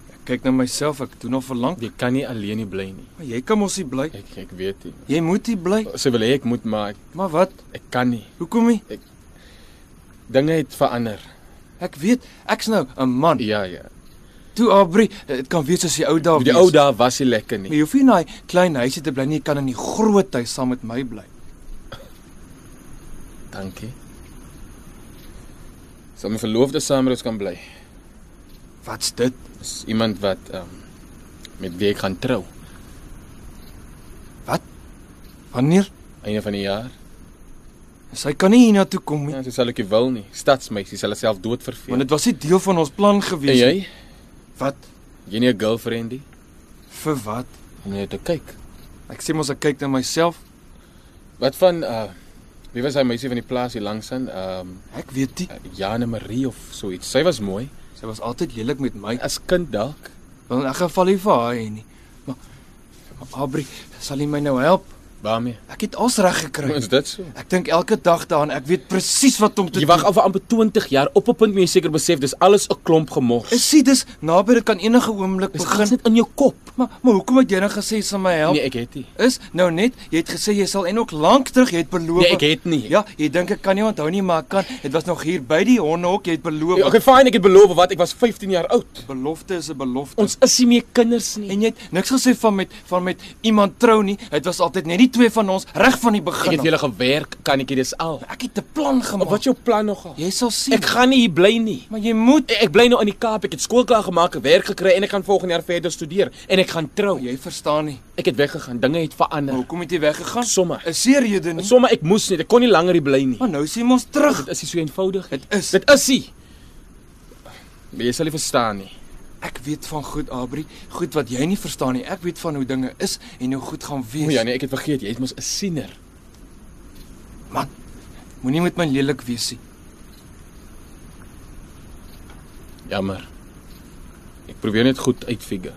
D: Ek kyk na myself, ek doen al verlang.
B: Jy kan nie alleen nie bly nie.
D: Maar jy kan mos nie bly.
B: Ek ek weet nie.
D: Jy moet hier bly.
B: Sy wil hê ek moet maar ek,
D: Maar wat?
B: ek kan nie.
D: Hoekom nie?
B: Dinge het verander.
D: Ek weet, ek's nou 'n man.
B: Ja, ja.
D: Toe Aubrey, dit kan wees as die ou dae.
B: Die
D: wees.
B: ou dae was nie lekker
D: Maar
B: nie.
D: jy hoef nie in daai klein huisie te bly nie, jy kan in die groot huis saam met my bly.
B: Dankie. Sal my verloofde saam met ons kan bly.
D: Wat's dit?
B: Is iemand wat ehm um, met wie ek gaan trou
D: Wanneer?
B: einde van die jaar.
D: Sy kan nie hiernatoe kom nie,
B: Ja, sy sal ook nie wil nie. Stadsmeisie sal haarself dood verveel.
D: want dit was nie deel van ons plan
B: Ja. en
D: gewees nie.
B: jy?
D: Wat?
B: Jy nie 'n girlfriendie
D: Vir wat?
B: om net te kyk.
D: Ek sê mos ek kyk na myself.
B: Wat van uh wie was hy meisie van die plaas hier langs aan? Ehm um,
D: Ek weet nie.
B: Jane Marie of so iets. Sy was mooi.
D: Sy was altyd lelik met my.
B: As kind dalk.
D: Wel in elk geval nie vir haar hê nie. Maar maar Aubrey, sal jy my nou help?
B: Waarmee?
D: Ek het alles reg gekry.
B: Is dit so?
D: Ek dink elke dag daaraan. Ek weet presies wat om te
B: Jy wag al vir amper 20 jaar op 'n punt moet jy seker besef dis alles 'n klomp gemors.
D: Is dit dis naby dit kan enige oomblik
B: Dis iets
D: begin.
B: net in jou kop.
D: Maar maar hoekom het jy nou gesê jy sal my help?
B: Nee, ek het nie.
D: Is nou net, jy het gesê jy sal en ook lank terug jy het beloof.
B: Nee, ek het nie.
D: Ja, jy dink ek kan nie onthou nie, maar ek kan. Dit was nog hier by die hondehok, jy het beloof.
B: Ja, Okay, fine, ek het beloof wat ek was 15 jaar oud.
D: Belofte is 'n belofte.
B: Ons is nie meer kinders nie.
D: en jy het niks gesê van met van met iemand trou nie. Dit was altyd net die twee van ons reg van die begin.
B: Ek het
D: af.
B: julle gewerk, kannetjie, dis al.
D: ek het 'n plan gemaak.
B: Wat jou plan nogal?
D: Jy sal sien.
B: Ek gaan nie hier bly nie.
D: maar jy moet
B: Ek bly nou in die Kaap. Ek het skool klaar gemaak, werk gekry en ek gaan volgende jaar verder studeer en ek gaan trou.
D: jy verstaan nie.
B: Ek het weggegaan. Dinge het
D: Maar
B: verander.
D: hoekom het jy weggegaan?
B: Nee. Sommer.
D: 'n Seerede nie.
B: Sommige ek moes nie. Ek kon nie langer hier bly nie.
D: Maar nou sien ons terug.
B: Dit is nie so eenvoudig. nie.
D: Dit is.
B: Dit is nie. Maar jy sal nie verstaan nie.
D: Ek weet van goed, Aubrey, goed wat jy nie verstaan nie. Ek weet van hoe dinge is en hoe goed gaan wees.
B: O ja nee, ek het vergeet. Jy is mos 'n siener.
D: Moenie met my lelik wees nie.
B: Jammer. Ek probeer net goed uitfigure.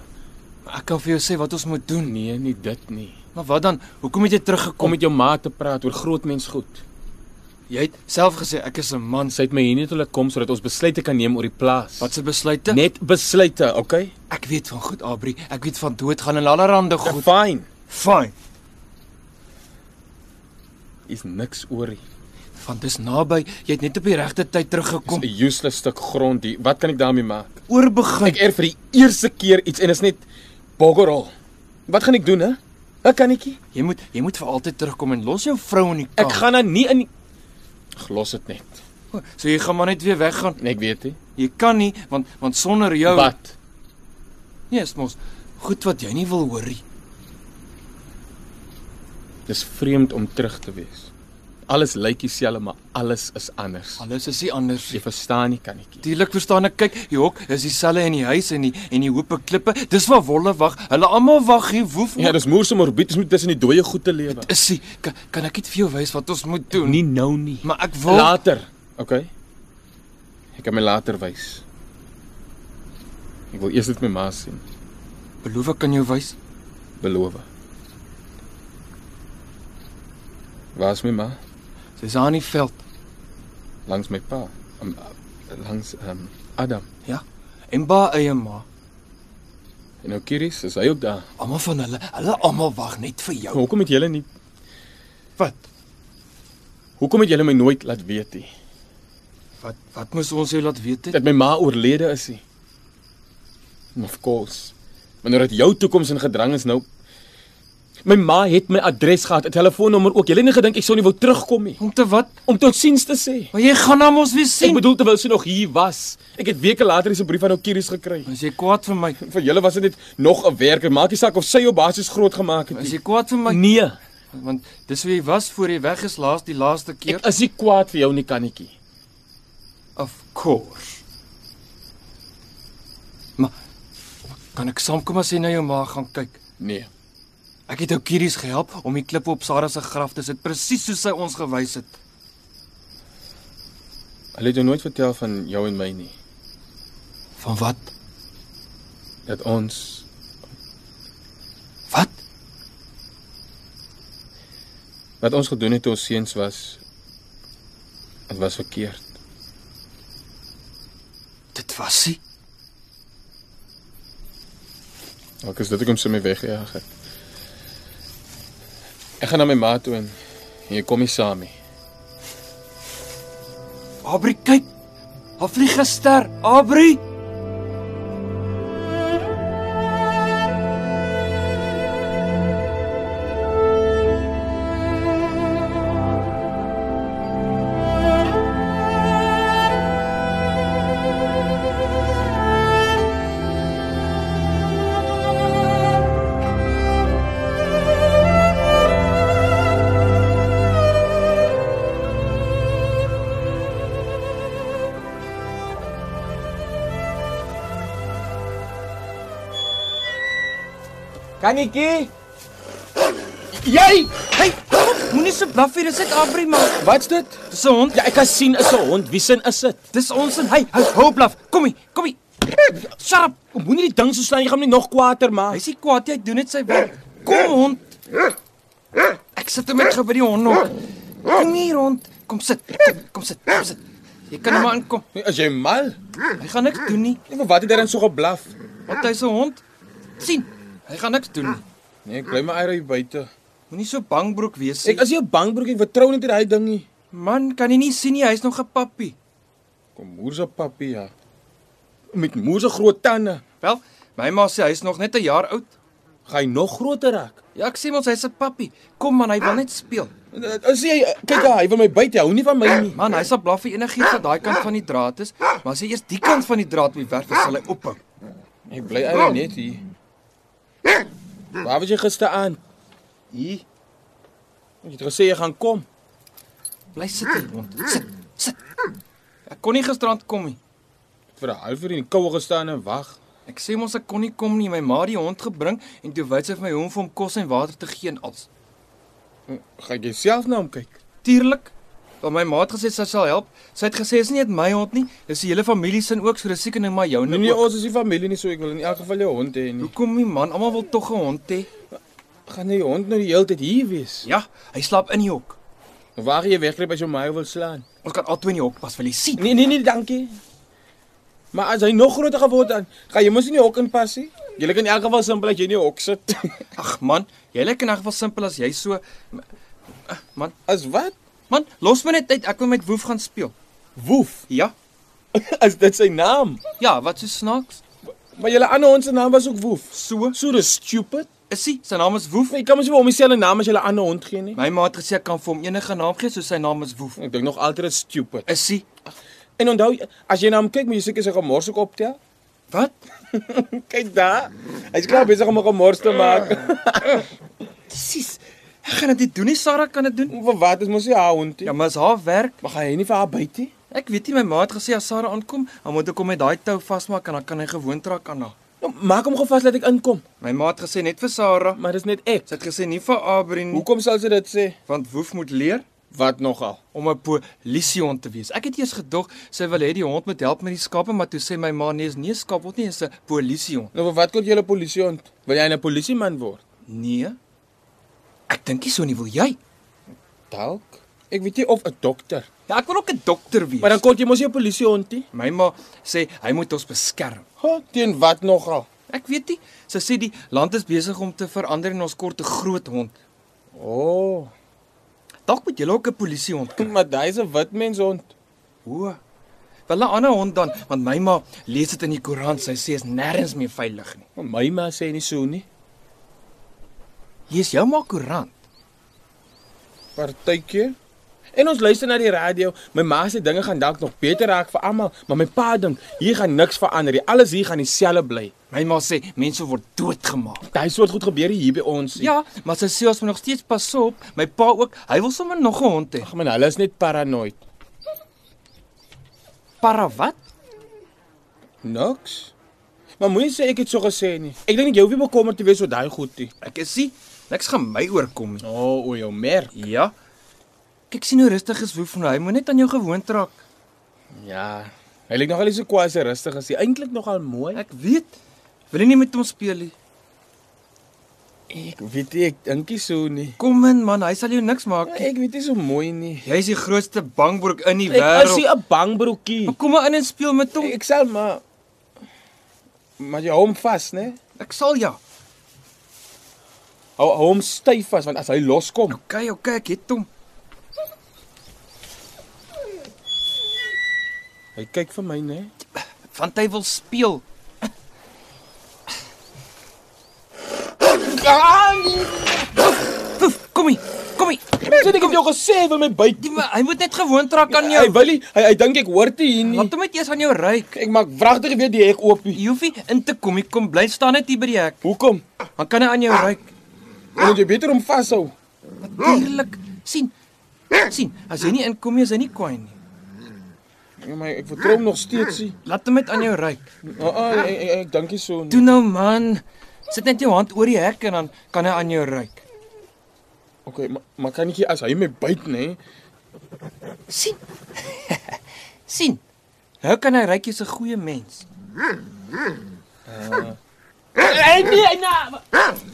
D: Maar ek kan vir jou sê wat ons moet doen.
B: Nee, nie dit nie.
D: Maar wat dan? Hoekom het jy
B: Kom
D: teruggekom?
B: met jou ma te praat oor groot mens goed.
D: Jy het self gesê ek is 'n man.
B: Sy het my hier net laat kom sodat ons besluite kan neem oor die plaas.
D: Wat se besluite?
B: Net besluite, okay?
D: Ek weet van goed, Aubrey. Ek weet van doodgaan en allerhande
B: Ja,
D: goed.
B: fine.
D: Fyn.
B: Is niks oor nie.
D: Want dis naby. Jy het net op die regte tyd teruggekom.
B: Dis 'n useless stuk grond hier. Wat kan ek daarmee maak?
D: Oorbegin.
B: Ek eer vir die eerste keer iets en is net boggerol. Wat gaan ek doen, hè? Wat kan ek? nie?
D: Jy moet jy moet vir altyd terugkom en los jou vrou in die
B: Ek
D: kamer.
B: gaan dan nie in glos dit net.
D: So jy gaan maar net weer weggaan.
B: Nee, ek weet nie.
D: Jy kan nie want want sonder jou
B: Wat?
D: Nee, is mos goed wat jy nie wil hoor nie.
B: Dis vreemd om terug te wees. Alles lyk dieselfde, maar alles is anders.
D: Alles is nie anders.
B: Jy verstaan nie kannetjie.
D: Natuurlik verstaan ek. Kyk, die hok is dieselfde in die huis en die en die hoope klippe. Dis waar wolle wag. Hulle almal wag hier woef.
B: Ja, dis moeilik om orbiet is moet tussen die dooie goed te lewe.
D: Is sy kan, kan ek net vir jou wys wat ons moet doen?
B: Nie nou nie.
D: Maar ek wil
B: Later. OK. Ek kan my later wys. Ek wil eers dit my ma sien,
D: beloof ek kan jou wys.
B: beloof. Waar's my ma?
D: Sy's aan die veld
B: Langs my pa. Um, langs um, Adam.
D: ja? en ba eie ma.
B: En nou Kiris, is hy ook daar?
D: Almal van hulle, hulle almal wag net vir jou.
B: Hoekom het julle nie
D: Wat?
B: Hoekom het julle my nooit laat weet nie?
D: Wat wat moes ons jou laat weet het?
B: dat my ma oorlede is nie. Of course. Wanneer dit jou toekoms in gedrang is nou
K: nou- My ma het my adres gehad, 'n telefoonnommer ook. Jy het nie gedink ek sou nie wou terugkom nie
D: Om te wat?
K: om totsiens te sê.
D: Maar jy gaan hom ons weer
K: Ek
D: sien.
K: bedoel terwyl sy nog hier was. Ek het weke later eens 'n brief van Okiris gekry.
D: As jy kwaad vir my,
K: Vir julle was dit net nog 'n werker. Maak nie saak of sy jou basies groot gemaak het
D: as
K: nie.
D: jy kwaad vir my,
K: Nee,
D: want dis hoe jy was voor jy weg is laas die laaste keer.
K: ek is nie kwaad vir jou nie, kannetjie.
D: Of course. Maar kan ek saamkom as jy na jou ma gaan kyk?
B: Nee.
D: Ek het ou Kieries gehelp om die klippe op Sarah se graf te sit presies soos sy ons gewys het.
B: Hulle het jou nooit vertel van jou en my nie.
D: Van wat?
B: Dat ons
D: Wat?
B: wat ons gedoen het toe ons seuns was, dit was verkeerd.
D: Dit was sy.
B: Dalk is dit hoekom sy my weggejaag het. Ek gaan na my ma toe en en jy kom nie saam nie.
D: Aubrey kyk. Haar vlieg 'n ster. Aubrey.
K: Kannetjie,
D: Jy, hey, moenie so blaf hier, dis net Aubrey man.
K: wat's dit?
D: Dis 'n hond.
K: Ja, ek kan sien is 'n hond. Wie sin is dit?
D: Dis ons en hy. Hou hou blaf. Kom hier, kom hier.
K: Sharp, moenie die ding so slaan, jy gaan hom net nog kwaader maak.
D: Hy's nie kwaad jy doen dit sy werk. Kom hond. Ek sit hom net gou by die hond nog. Kom hier hond. Kom sit. Kom, kom sit. Kom sit. Jy kan maar aankom.
B: Nee, As jy mal,
D: Hy gaan niks doen nie.
B: ek weet wat het daarin so geblaf.
D: Want hy's 'n hond. sien. Hy gaan niks doen nie.
B: Nee, ek bly my eie hier buite.
D: Moenie so bangbroek wees nie.
B: Ek is nie 'n bangbroek, ek vertrou net hierdie ding nie.
D: Man, kan jy nie sien nie, hy's nog 'n pappie.
B: Kom moer se papie ja. Met moer se groot tande.
D: Wel, my ma sê hy's nog net 'n jaar oud.
B: Gaan hy nog groter raak?
D: Ja, ek sê mos hy's 'n pappie. Kom man, hy wil net speel.
B: As jy kyk daar, hy wil my byt, hy hou nie van my nie.
D: Man, hy sal blaf vir enigiets wat daai kant van die draad is, maar as hy eers die kant van die draad moet werf, dan sal hy ophou.
B: Ek bly eintlik net hier. Waar was jy gisteraand? Hier. Jy het gesê jy gaan kom.
D: Bly sit hier rond. Sit, sit. Ek kon nie gisterand kom nie.
B: Vir 'n halfuur in die koue gestaan en wag.
D: Ek sê mos ek kon nie kom nie. My ma het die hond gebring en toe wys sy vir my hoe om vir hom kos en water te gee en alles.
B: Gaan jy self na hom kyk?
D: Tuurlik. Want my ma het gesê sy sal help. Sy het gesê is nie net my hond nie, dis die hele familie se ook, so dis seker nou maar joune
B: Nee nee,
D: ook.
B: ons is nie familie nie, so ek wil in elk geval jou hond hê nie.
D: Hoekom nie man? Almal wil tog 'n hond hê.
B: Gaan jy hond nou die hele tyd hier wees?
D: Ja, hy slaap in die hok.
B: Of waar gaan jy wegkruip as jy my wil slaan?
D: Ons kan albei in die hok pas, wil jy sien?
B: Nee nee nee, dankie. Maar as hy nog groter geword dan, gaan jy mos nie in die hok inpas nie. Jy kan in elk geval simpel dat jy nie hok sit.
D: Ag man, jy lyk in elk geval simpel as jy so
B: As wat?
D: Man, los my net uit. Ek wil met Woef gaan speel.
B: Woef.
D: Ja?
B: As dit sy naam.
D: Ja, wat so snaaks?
B: Maar julle ander hond se naam was ook Woef.
D: So
B: So dis stupid.
D: is hy. Sy naam is Woef.
B: Jy kan mos nie vir hom dieselfde naam as julle ander hond gee nie.
D: My ma het gesê ek kan vir hom enige naam gee, so sy naam is Woef.
B: Ek dink nog altyd dit is stupid.
D: Is hy?
B: En onthou, as jy na hom kyk, moet jy seker sy gemors ook optel.
D: Wat?
B: Kyk daar. Ah. Hy's klaar besig om 'n gemors te maak.
D: Presies. Ek gaan dit nie doen nie. Sarah kan dit doen.
B: Vir wat? Dit mos nie haar hond nie.
D: Ja, maar is haar werk.
B: Maar gaan jy nie vir haar byt nie?
D: Ek weet nie my ma het gesê as Sarah aankom, dan moet ek hom met daai tou vasmaak en dan kan hy gewoontraak aan haar.
B: Nou, maak hom gou vas dat ek inkom.
D: My ma het gesê net vir Sarah.
B: Maar dis net ek.
D: Sy het gesê nie vir Aubrey nie,
B: Hoekom sal sy dit sê?
D: want Woef moet leer
B: Wat nogal?
D: om 'n polisiehond te wees. Ek het eers gedog sy wil hê die hond moet help met die skape, maar toe sê my ma nee, is nie 'n skaap word nie, is 'n polisiehond.
B: Nou vir wat kon jy 'n polisiehond? Wil jy 'n polisieman word?
D: Nee. Ek dink nie so nie, wil jy?
B: Dalk. Ek weet nie of 'n dokter.
D: Ja, ek wil ook 'n dokter wees.
B: Maar dan kon jy mos nie 'n polisiehond nie.
D: my ma sê hy moet ons beskerm.
B: Ha, teen wat nogal?
D: Ek weet nie. Sy sê die land is besig om te verander en ons kort 'n groot hond.
B: O, oh,
D: Dalk moet julle ook 'n polisiehond kry.
B: maar hy's 'n wit mens hond.
D: O. Wel 'n ander hond dan, want my ma lees dit in die koerant. Sy sê is nêrens meer veilig nie.
B: Maar my ma sê nie so nie.
D: Jy's jou maar koerant.
B: Partytjie. En ons luister na die radio. My ma sê dinge gaan dalk nog beter raak vir almal, maar my pa dink hier gaan niks verander nie. Alles hier gaan dieselfde bly.
D: My ma sê mense word doodgemaak.
B: Daai soort goed gebeur hier by ons.
D: Ja, maar sy sê ons moet nog steeds pas op. My pa ook, hy wil sommer nog 'n hond hê.
B: Ag man, hulle is net paranoid.
D: Para wat?
B: Niks. Maar moenie sê ek het so gesê nie. Ek dink jy hoef nie bekommerd te wees oor daai goed nie.
D: Ek is nie niks gaan my oorkom nie.
B: O, oh, o jou merk.
D: Ja. Kyk sien hoe rustig is Woef nou. Hy moet net aan jou gewoond raak.
B: Ja. Hy lyk nogal nie so kwaai as hy rustig is nie. Eintlik nogal mooi.
D: Ek weet. Wil jy nie met hom speel nie?
B: Ek weet nie, ek dink nie so nie.
D: Kom in man, hy sal jou niks maak nie.
B: Ek weet nie so mooi nie.
D: Jy's die grootste bangbroek in die
B: Ek is
D: wêreld.
B: nie 'n bangbroekie.
D: Maar Kom maar in en speel met hom.
B: Ek sal maar maar jy hou hom vas, né?
D: Ek sal ja.
B: Hou hou hom styf vas want as hy loskom,
D: OK, OK, ek het hom.
B: hy kyk vir my, né?
D: Want hy wil speel. Woef, Kom hier. Kom hier.
B: Sê ek het jou gesê vir my byt.
D: Die ma- Hy moet net gewoond raak aan jou.
B: Hy wil nie, hy, hy dink ek hoort dit hier nie.
D: Laat hom net eers aan jou ruik.
B: Ek maak wragtig weer die hek oop.
D: Jy hoef nie in te kom nie. Kom bly staan net hier by die hek.
B: Hoekom?
D: Dan kan hy aan jou ruik.
B: Omdat jy beter hom vashou.
D: Natuurlik. sien. sien, as hy nie inkom nie, is hy nie kwaai nie.
B: Ja, maar ek vertrou hom nog steeds nie.
D: Laat hom net aan jou ruik.
B: Ah, ah, ek, ek, ek dink nie so nee. nie.
D: Toe nou man, sit net jou hand oor die hek en dan kan hy aan jou ruik.
B: Okay, maar, maar kan ek nie as hy my byt, nee? né?
D: sien. sien. Nou kan hy ruik jy's 'n goeie mens. Eh,
B: Hey, nee, nee.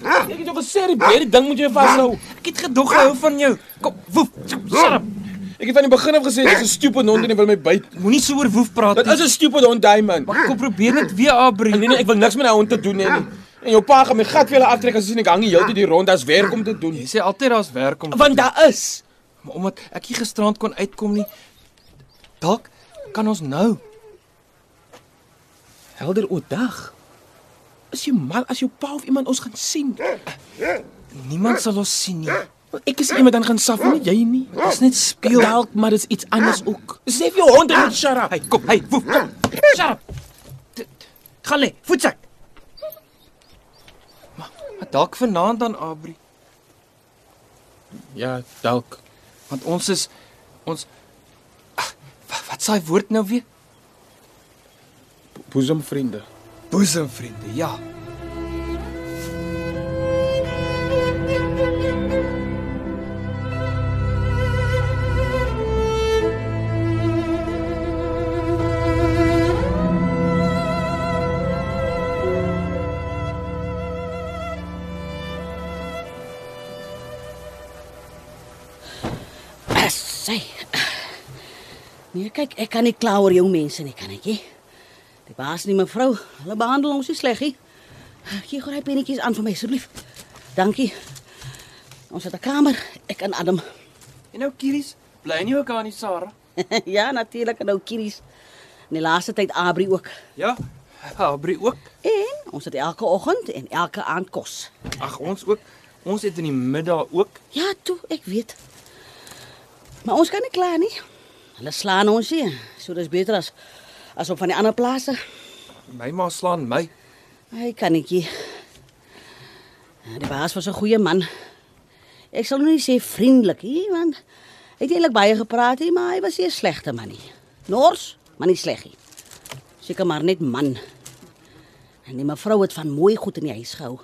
B: Ek het jou gesê die beer ding moet jy vashou.
D: Ek het gedog hy hou van jou. Kom, woef. Sarp.
B: Ek het van die begin af gesê dis 'n stupid hond en hy wil my byt.
D: Moenie so oor woef praat
B: Dit
D: nie.
B: is 'n stupid hond, daai man.
D: Maar kom probeer dit weer, Abri.
B: Nee nee, ek wil niks met daai hond te doen hê nie. En jou pa gaan my gat vir hulle aftrek as jy sien ek hang die hele tyd hier rond as werk om te doen.
D: Jy sê altyd daar's werk om.
B: Want daar is.
D: Maar omdat ek nie gisterand kon uitkom nie, dalk kan ons nou.
B: Helder oor dag. Is jy mal as jou pa of iemand ons gaan sien?
D: Niemand sal ons sien nie.
B: Want Ek is iemand dan gaan saf nie jy nie.
D: Ons net speel.
B: Dalk maar dis iets anders ook. Sê vir jou hond en shut up.
D: Hey, kom, hey, woef, kom. Sharp. T- t- Gaan lê, voetsak. Maar maar dalk vanaand dan Abri,
B: Ja, dalk.
D: want ons is ons Ag, wa- wat s'ai woord nou weer?
B: Boezemvriende.
D: Boezemvriende. Ja.
I: Sy. Nee, kyk, ek kan nie kla oor jou mense nie, kan ek nie. Die baas nie mevrou, hulle behandel ons nie sleg nie. Gee gou daai pennetjies aan vir my asseblief. Dankie. Ons het 'n kamer, ek en Adam.
D: En nou Kieries, bly nie ook aan die Sarah?
I: ja, natuurlik en nou Kiries. In die laaste tyd Abri ook.
D: Ja. Abri ook.
I: En ons het elke oggend en elke aand kos.
D: Ag, ons ook. Ons het in die middag ook.
I: Ja, toe, ek weet. Maar ons kan nie klaar nie. Hulle slaan ons hier. So dis beter as as op van die ander plase.
D: My ma slaan my.
I: Hy kan netjie. Die baas was 'n goeie man. Ek sal nou nie sê vriendelik nie, want hy het eintlik baie gepraat nie, maar hy was nie 'n slegte man nie. Nors, maar nie sleg nie. Seker maar net man. En die mevrou het van mooi goed in die huis gehou.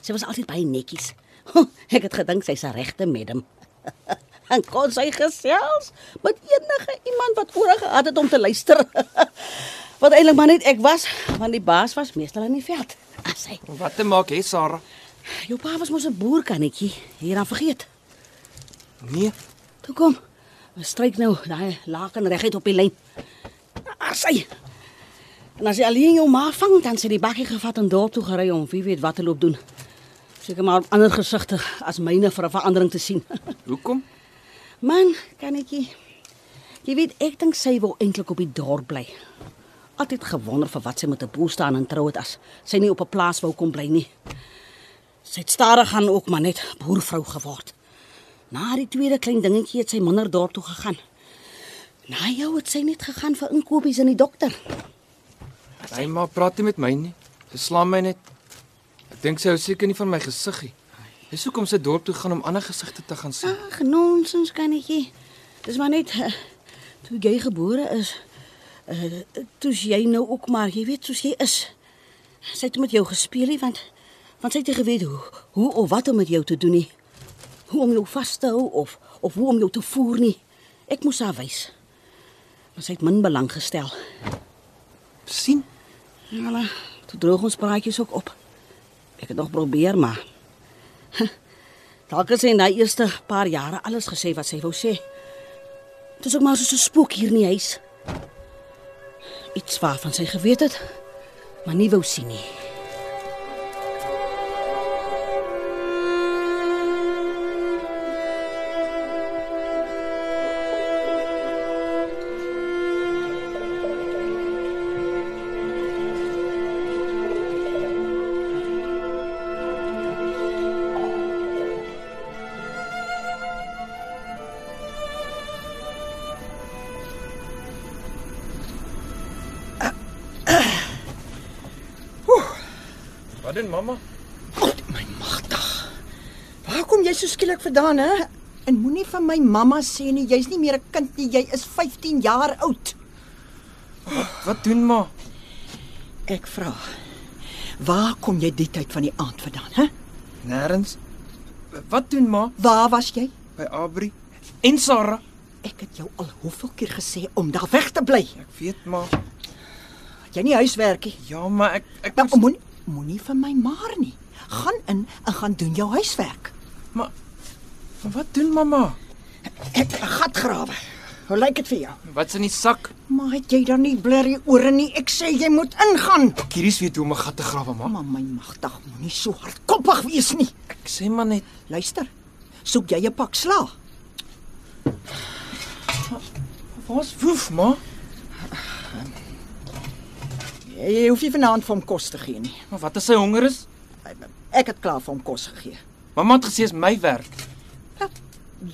I: Sy was altyd baie netjies. Ek het gedink sy's 'n regte madam. En kon sy gesels met enige iemand wat oor gehad het om te luister. Wat eintlik maar net ek was, want die baas was meestal in die veld. As hy.
D: Wat te maak hê Sarah?
I: Jou pa was mos 'n boerkannetjie, hier aan vergeet.
D: Nee,
I: Toe kom. Ons stryk nou daai laken reguit op die lyn. As hy. En as hy alleen jou ma vang, dan sy die bakkie gevat en dorp toe gery om wie weet wat te loop doen. Seker maar op ander gesigte as myne vir 'n verandering te sien.
D: hoekom?
I: Man, kannetjie. Jy weet ek dink sy wil eintlik op die dorp bly. Altyd gewonder vir wat sy met 'n boer staan en trou het as sy nie op 'n plaas wou kom bly nie. Sy het stadig gaan ook maar net boervrou geword. Na die tweede klein dingetjie het sy minder daartoe gegaan. Na jou het sy net gegaan vir inkopies in die dokter.
D: Hy maar praat nie met my nie. Sy slaan my net. Ek dink sy hou seker nie van my gesiggie. Dis hoekom sy dorp toe gaan om ander gesigte te gaan sien.
I: Ag, nonsens kannetjie. Dis maar net eh, toe jy gebore is, uh, toe is jy nou ook maar, jy weet soos jy is. Sy het met jou gespeel, nie, want want sy het nie geweet hoe, hoe of wat om met jou te doen nie. Hoe om jou vas te hou of of hoe om jou te voer nie. Ek moes haar wys. Maar sy het min belang gestel.
D: sien?
I: Hulle, toe droog ons praatjies ook op. Ek het nog probeer, maar dalk het sy in daai eerste paar jare alles gesê wat sy wou sê. Dit is ook maar soos 'n spook hier in die huis. Iets waarvan sy geweet het, maar nie wou sien nie.
D: Wat doen mamma?
G: Waar kom jy so skielik vandaan, hè? En moenie van my mamma sê nie, jy's nie meer 'n kind nie, jy is 15 jaar oud.
D: Wat doen ma?
G: Ek vra. Waar kom jy die tyd van die aand vandaan, hè?
D: Nêrens. Wat doen ma
G: Waar was jy?
D: by Abri en Sarah?
G: Ek het jou al hoeveel keer gesê om daar weg te bly.
D: Ek weet maar.
G: Dat jy nie huiswerk nie.
D: Ja, maar ek ek
G: Nou
D: moes-
G: moenie moenie van my maar nie. Gaan in en gaan doen jou huiswerk.
D: maar wat doen mamma?
G: Ek het 'n gat grawe. Hoe lyk dit vir jou?
D: Wat's in die sak?
G: Maar het jy dan nie blerrie ore nie? Ek sê jy moet ingaan.
D: Kieries weet hoe om 'n gat te grawe, ma.
G: Maar my magtig, moenie so hardkoppig wees nie.
D: Ek sê maar net,
G: Luister. Soek jy 'n pak sla?
D: waar's woef, ma?
G: Jy hoef nie vanaand vir hom kos te gee nie.
D: Maar wat as hy honger is?
G: Ek het klaar vir hom kos gegee.
D: Mamma het gesê is my werk.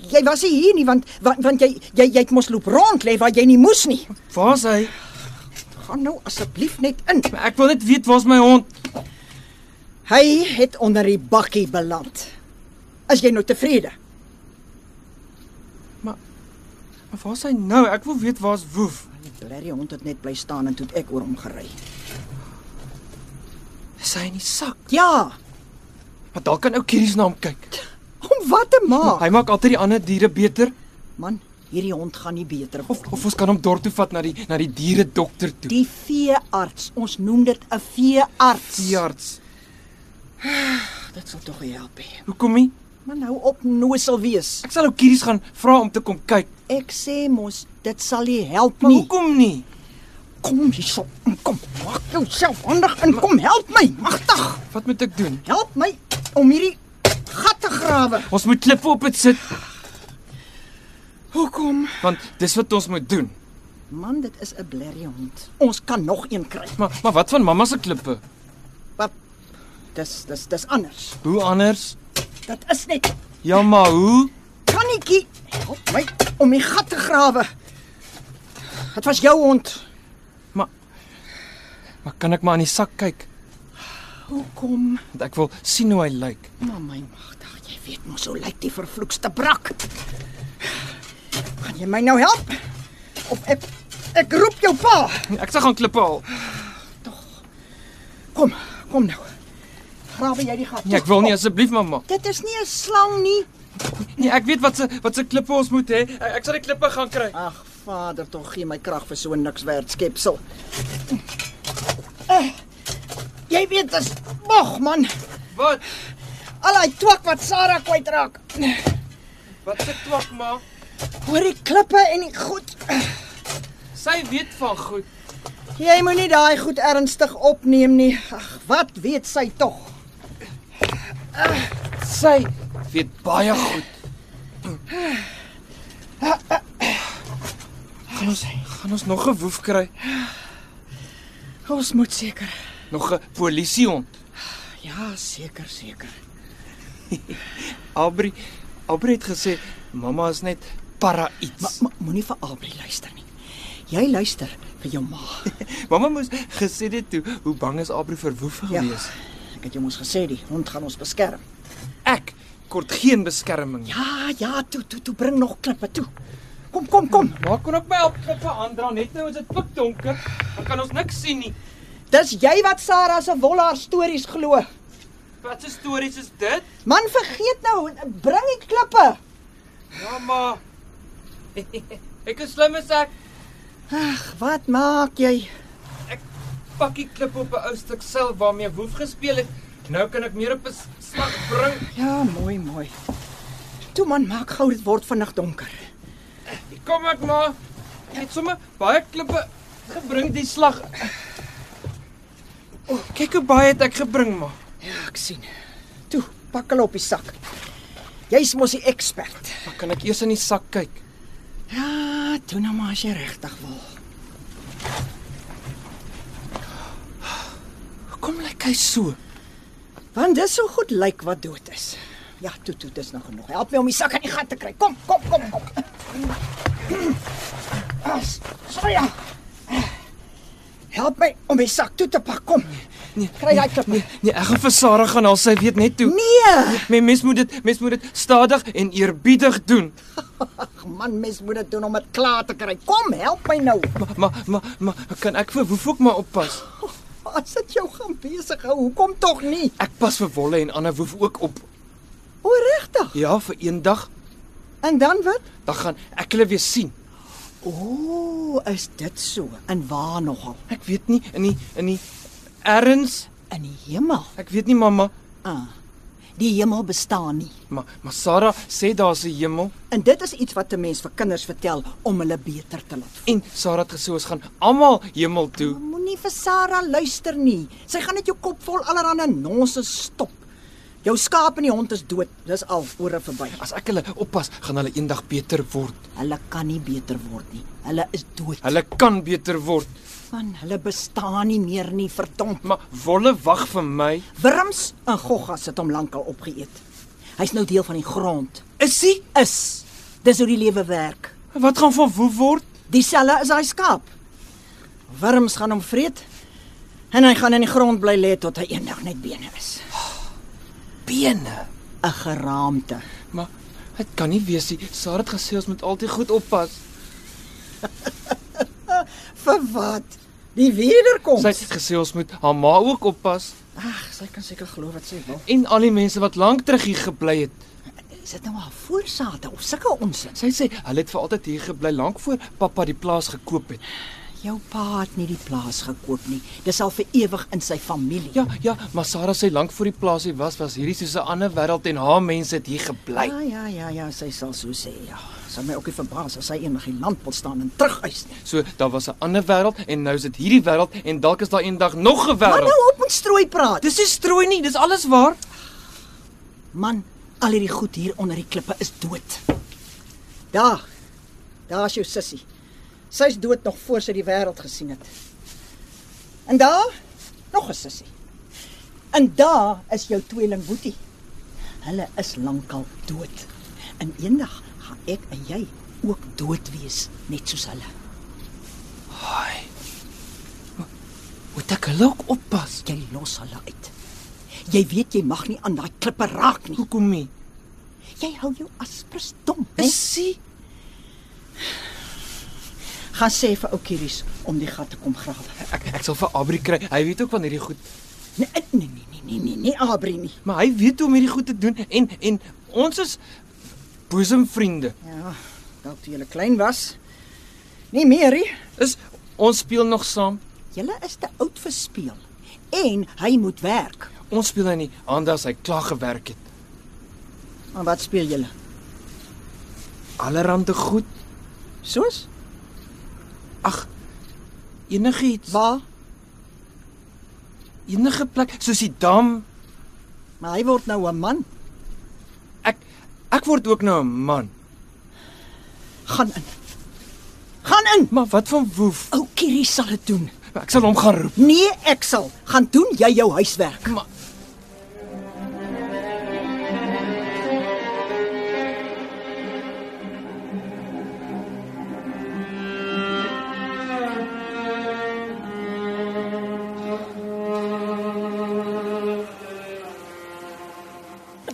G: Jy was nie hier nie want want, want jy jy jy het mos loop rond lê waar jy nie moes nie.
D: Waar's hy?
G: Gaan nou asseblief net in.
D: Maar Ek wil net weet waar's my hond.
G: Hy het onder die bakkie beland. Is jy nou tevrede?
D: Maar waar's hy nou? Ek wil weet waar's woef.
G: Blerrie hond het net bly staan en toe het ek oor hom gery.
D: Is hy in die sak?
G: Ja,
D: Maar dalk kan ou Kieries na hom kyk.
G: om wat te maak?
D: Hy maak altyd die ander diere beter.
G: Man, hierdie hond gaan nie beter
D: Of
G: word.
D: of ons kan hom dorp toe vat na die na die diere dokter toe.
G: Die veearts, ons noem dit 'n veearts.
D: veearts.
G: dit sal tog help. hè.
D: Hoekom nie?
G: Man hou op nosel wees.
D: Ek sal ou Kieries gaan vra om te kom kyk.
G: Ek sê mos, dit sal nie help
D: Maar
G: nie.
D: hoekom nie?
G: Kom hierso, kom. Maak jouself handig en kom help my, magtig.
D: Wat moet ek doen?
G: Help my om hierdie gat te grawe.
D: Ons moet klippe op dit sit,
G: Hoekom?
D: want dis wat ons moet doen.
G: Man, dit is 'n blerrie hond. Ons kan nog een kry.
D: Maar maar wat van mamma se klippe?
G: Wat? Dis dis dis anders.
D: Hoe anders?
G: Dit is net
D: Ja, maar hoe?
G: kannetjie. Help my om die gat te grawe. Dit was jou hond.
D: Maar kan ek maar aan die sak kyk?
G: Hoekom?
D: Want ek wil sien hoe hy lyk.
G: Maar my magtig, jy weet mos hoe lyk die vervloekste brak. Gaan jy my nou help? Of ek ek roep jou pa.
D: Nee, Ek sal gaan klippe haal.
G: Kom, kom nou. Grawe jy die gat.
D: Nee, ek wil nie asseblief mamma.
G: Dit is nie 'n slang nie.
D: Nee, ek weet wat se wat se klippe ons moet hê. Eh, Ek- Ek sal die klippe gaan kry.
G: Ag, vader, tog gee my krag vir so niks werd skepsel. Uh, jy weet dis mog man.
D: Wat?
G: Al daai twak wat Sarah kwytraak.
D: Wat se twak ma?
G: Hoor die klippe en die goed.
D: Sy weet van goed.
G: Jy moenie daai goed ernstig opneem nie. Ag, wat weet sy tog?
D: Sy weet baie goed. Gaan ons gaan ons nog 'n woef kry?
G: Ons moet seker.
D: Nog 'n polisiehond.
G: Ja, seker, seker.
D: Abri Abri het gesê mamma is net para iets.
G: Maar moenie vir Abri luister nie. Jy luister vir jou ma.
D: Mamma moes gesê dit toe hoe bang is Abri vir woef
G: Ja.
D: gewees.
G: Ek het jou mos gesê die hond gaan ons beskerm.
D: Ek kort geen beskerming. nie.
G: Ja, ja, toe toe toe bring nog klippe toe. Kom kom kom.
D: Maar kon ook my help met aandra net nou is dit pikdonker. Dan kan ons niks sien nie.
G: Dis jy wat Sarah se wollaar stories glo.
D: Wat 'n stories is dit?
G: Man vergeet nou, bring die klippe.
D: Ja maar ek is slim as ek
G: Ag, wat maak jy?
D: pakkie klip op 'n ou stuk sil waarmee woef gespeel het. Nou kan ek meer op 'n slag bring.
G: Ja, mooi mooi. Toe man, maak gou dit word vinnig donker.
D: Kom ek maar. Ek het sommer baie klippe gebring die slag. O, kyk hoe baie het ek gebring maar.
G: Ja, ek sien. Toe, pak hulle op die sak. Jy's mos die ekspert.
D: Maar kan ek eers in die sak kyk?
G: Ja, toe nou maar as jy regtig wil.
D: Hoekom lyk hy so?
G: Want dis so goed lyk wat dood is. Ja, toe toe, dis nog genoeg. Help my om die sak in die gat te kry. Kom, kom, kom, kom. As, so ja. Help my om die sak toe te pak. Kom.
D: Nee,
G: Kry daai klip.
D: Nee, nee, ek gaan vir Sarah gaan al sy weet net toe.
G: Nee,
D: Men mens moet dit mens moet dit stadig en eerbiedig doen.
G: Ag, man, mens moet dit doen om dit klaar te kry. Kom, help my nou.
D: Maar maar maar ma, kan ek vir Woef ook maar oppas?
G: As dit jou gaan besig hou, hoekom tog nie?
D: Ek pas vir Wolle en ander Woef ook op.
G: O, regtig?
D: Ja, vir eendag
G: En dan wat?
D: dan gaan ek hulle weer sien.
G: O, is dit so? En waar nogal?
D: Ek weet nie in die in die erns,
G: In die hemel.
D: ek weet nie mamma,
G: Ah. Die hemel bestaan nie.
D: maar maar Sarah sê daar's 'n hemel
G: En dit is iets wat 'n mens vir kinders vertel om hulle beter te laat voel.
D: en Sarah het gesê ons gaan almal hemel toe.
G: Moenie vir Sarah luister nie. Sy gaan net jou kop vol allerlei nonsens stop. Jou skaap en die hond is dood. Dis al ore verby.
D: As ek hulle oppas, gaan hulle eendag beter word.
G: Hulle kan nie beter word nie. Hulle is dood.
D: Hulle kan beter word.
G: van hulle bestaan nie meer nie, verdomp.
D: Maar Wolle wag vir my.
G: Wurms en goggas het hom lankal opgeëet. Hy's nou deel van die grond.
D: Is hy?
G: Is. Dis hoe die lewe werk.
D: Wat gaan van Woef word?
G: Dieselfde is daai skaap. Wurms gaan hom vreet en hy gaan in die grond bly lê tot hy eendag net bene is.
D: Bene.
G: 'n Geraamte.
D: Maar dit kan nie wees nie. Sarah het gesê ons moet altyd goed oppas.
G: Vir wat? Die wederkoms.
D: Sy het gesê ons moet haar ma ook oppas
G: Ag, sy kan seker glo wat sy wil.
D: en al die mense wat lank terug hier gebly het.
G: Is dit nou haar voorsate of sulke onsin?
D: Sy sê hulle het vir altyd hier gebly lank voor pappa die plaas gekoop het.
G: Jou pa het nie die plaas gekoop nie. Dis al vir ewig in sy familie.
D: Ja, ja, maar Sarah sê lank voor die plaas hier was, was hierdie soos 'n ander wêreld en haar mense het hier gebly.
G: Ja, ja, ja, ja, sy sal so sê, ja. Sal my ook nie verbaas as sy eendag die land wil staan en terugeis nie.
D: So daar was 'n ander wêreld en nou is dit hierdie wêreld en dalk is daar eendag nog 'n
G: Maar nou
D: wêreld.
G: op met strooi praat.
D: Dis nie strooi nie, dis alles waar.
G: Man, al hierdie goed hier onder die klippe is dood. Daar. Daar's jou sussie. Sy's dood nog voor sy die wêreld gesien het. En daar nog 'n sussie. En daar is jou tweeling Boetie. Hulle is lankal dood. En eendag gaan ek en jy ook dood wees, net soos hulle.
D: Haai. Moet ek hulle ook oppas?
G: Jy los hulle uit. Jy weet jy mag nie aan daai klippe raak nie.
D: Hoekom nie?
G: Jy hou jou aspres dom.
D: Is sy?
G: gaan sê vir ou Kieries om die gat te kom grawe.
D: Ek ek sal vir Abri kry. Hy weet ook van hierdie goed,
G: Nee, nee, nee, nee, nee, nee, nee Abri nie.
D: maar hy weet hoe om hierdie goed te doen en en ons is boesemvriende.
G: Ja, dalk toe jy klein was. Nee, Mary,
D: Is ons speel nog saam?
G: jy is te oud vir speel en hy moet werk.
D: Ons speel nou nie Anda as hy klaar gewerk het.
G: Maar wat speel julle?
D: Allerhande goed.
G: Soos?
D: Ag. Enigiets,
G: Waar?
D: enige plek soos die dam.
G: Maar hy word nou 'n man.
D: Ek ek word ook nou 'n man.
G: Gaan in. Gaan in.
D: Maar wat van woef?
G: Ou Kieries sal dit doen.
D: Ek sal hom gaan roep.
G: Nee, ek sal. Gaan doen jy jou huiswerk.
D: Maar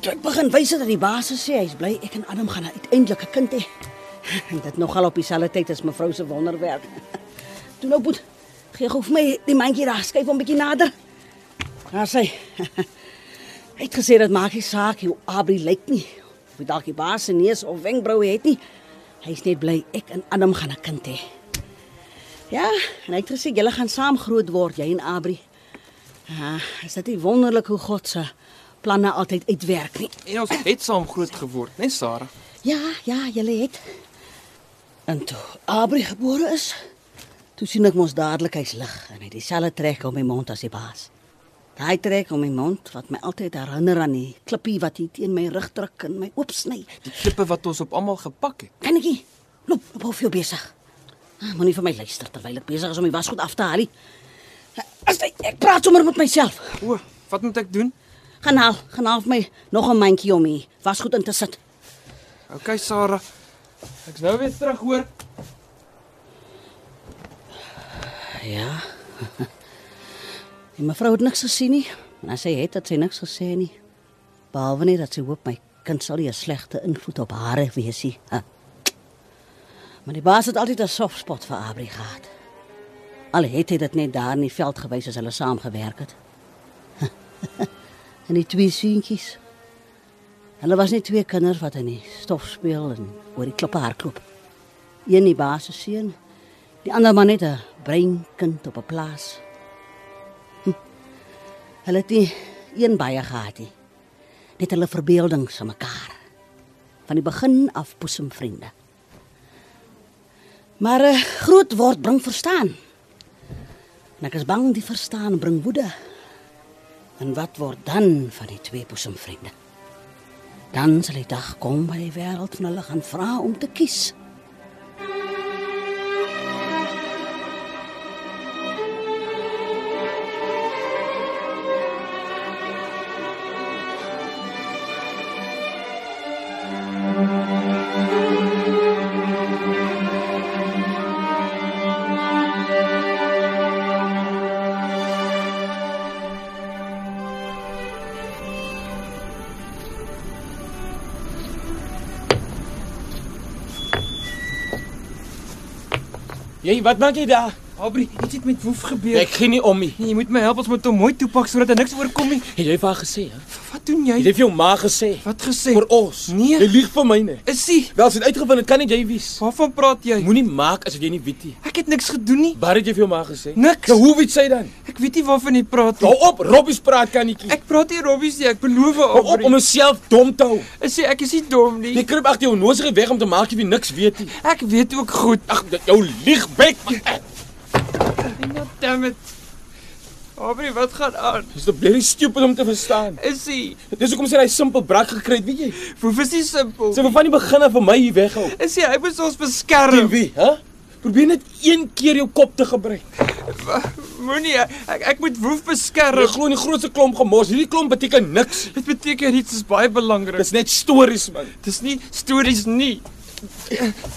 I: Toe ek begin wys dat die baas sê hy's bly ek en Adam gaan uiteindelik 'n kind hê. En dit nogal op dieselfde tyd as mevrou se wonderwerk. Toe nou boet. Gee gou vir my die mandjie daar, skuif hom 'n bietjie nader. Daar sê. Hy het gesê dat maak nie saak hoe Abri lyk nie. Of hy dalk die baas se neus of wenkbroue het nie. Hy's net bly ek en Adam gaan 'n kind hê. Ja, en hy het gesê julle gaan saam groot word, jy en Abri. Ja, is dit nie wonderlik hoe God se planne altyd uitwerk nie?
D: En ons het saam groot geword, né, nee, Sarah?
I: Ja, ja, julle het. En toe Abri gebore is, toe sien ek mos dadelik hy's lig en hy het dieselfde trek om my mond as die baas. Daai trek om my mond wat my altyd herinner aan die klippie wat hier teen my rug druk en my oopsny.
D: Die klippe wat ons op almal gepak het.
I: Kennetjie, loop, loop hou veel besig. Ah, Moenie vir my luister terwyl ek besig is om die wasgoed af te haal nie. As jy ek praat sommer met myself.
D: O, wat moet ek doen?
I: Gaan haal, gaan haal vir my nog 'n mandjie om hier wasgoed in te sit.
D: OK, Sarah. Ek's nou weer terug hoor.
I: Ja. Die mevrou het niks gesien nie. En as sy het, het sy niks gesê nie. Behalwe net dat sy hoop my kind sal nie 'n slegte invloed op haar wees nie. Ha. Maar die baas het altyd 'n soft spot vir Abri gehad. Al het hy dit net daar in die veld gewys as hulle saam gewerk het. en die twee seentjies. Hulle was net twee kinders wat in die stof speel en oor die klippe hardloop. Een die baas se seun, die ander maar net 'n breinkind op 'n plaas. Hm. Hulle het nie een baie gehad nie. Net hulle verbeeldings aan mekaar. Van die begin af boesemvriende. Maar eh, groot word bring verstaan. En ek is bang die verstaan bring woede. En wat word dan van die twee boesemvriende? Dan sal die dag kom waar die wêreld van hulle gaan vra om te kies.
B: Jy, wat maak jy daar?
D: Aubrey, iets het met Woef gebeur.
B: Ek gee nie om nie.
D: Nee, jy moet my help ons moet hom mooi toepak
F: er
D: sodat hy niks oorkom nie.
B: Het jy vir haar gesê, hè?
D: Wat doen jy?
B: Het jy vir jou ma gesê?
D: Wat gesê?
B: Vir ons.
D: Nee.
B: Jy lieg vir my nie.
D: Is hy?
B: Wel, sien uitgevind, dit kan nie jy wees.
D: Waarvan praat jy?
B: Moenie maak asof jy nie weet nie.
D: Ek het niks gedoen nie.
B: Wat het jy vir jou ma gesê?
D: Niks.
B: Nou hoe Ja, weet sy dan?
D: Ek weet nie waarvan jy praat
B: Hou
D: nie.
B: op, Robbies praat kan nie.
D: Ek praat nie robbies nie, ek beloof
B: Hou op
D: Aubrey.
B: om jouself dom te hou.
D: Ek sê ek is nie dom
B: Jy
D: nie.
B: kruip agter jou nose ge weg om te maak of jy niks weet nie.
D: Ek weet ook goed.
B: Ag, dat jou liegbek. man.
D: Ag, damn it. Aubrey, wat gaan aan?
B: Dis te bly stupid om te verstaan.
D: Is hy?
B: Dis hoekom sy daai simpel brak gekry het, weet jy?
D: Woef is nie simpel.
B: Sy wou van die begin af van my hier weghou.
D: Is hy? Hy moet ons
B: Teen
D: beskerm.
B: wie, hè? Probeer net een keer jou kop te gebruik.
D: Moenie ek ek moet Woef
B: Jy
D: beskerm.
B: glo in die grootste klomp gemors. Hierdie klomp beteken niks.
D: Dit beteken iets is baie belangrik.
B: Dis net stories, man.
D: Dis nie stories nie.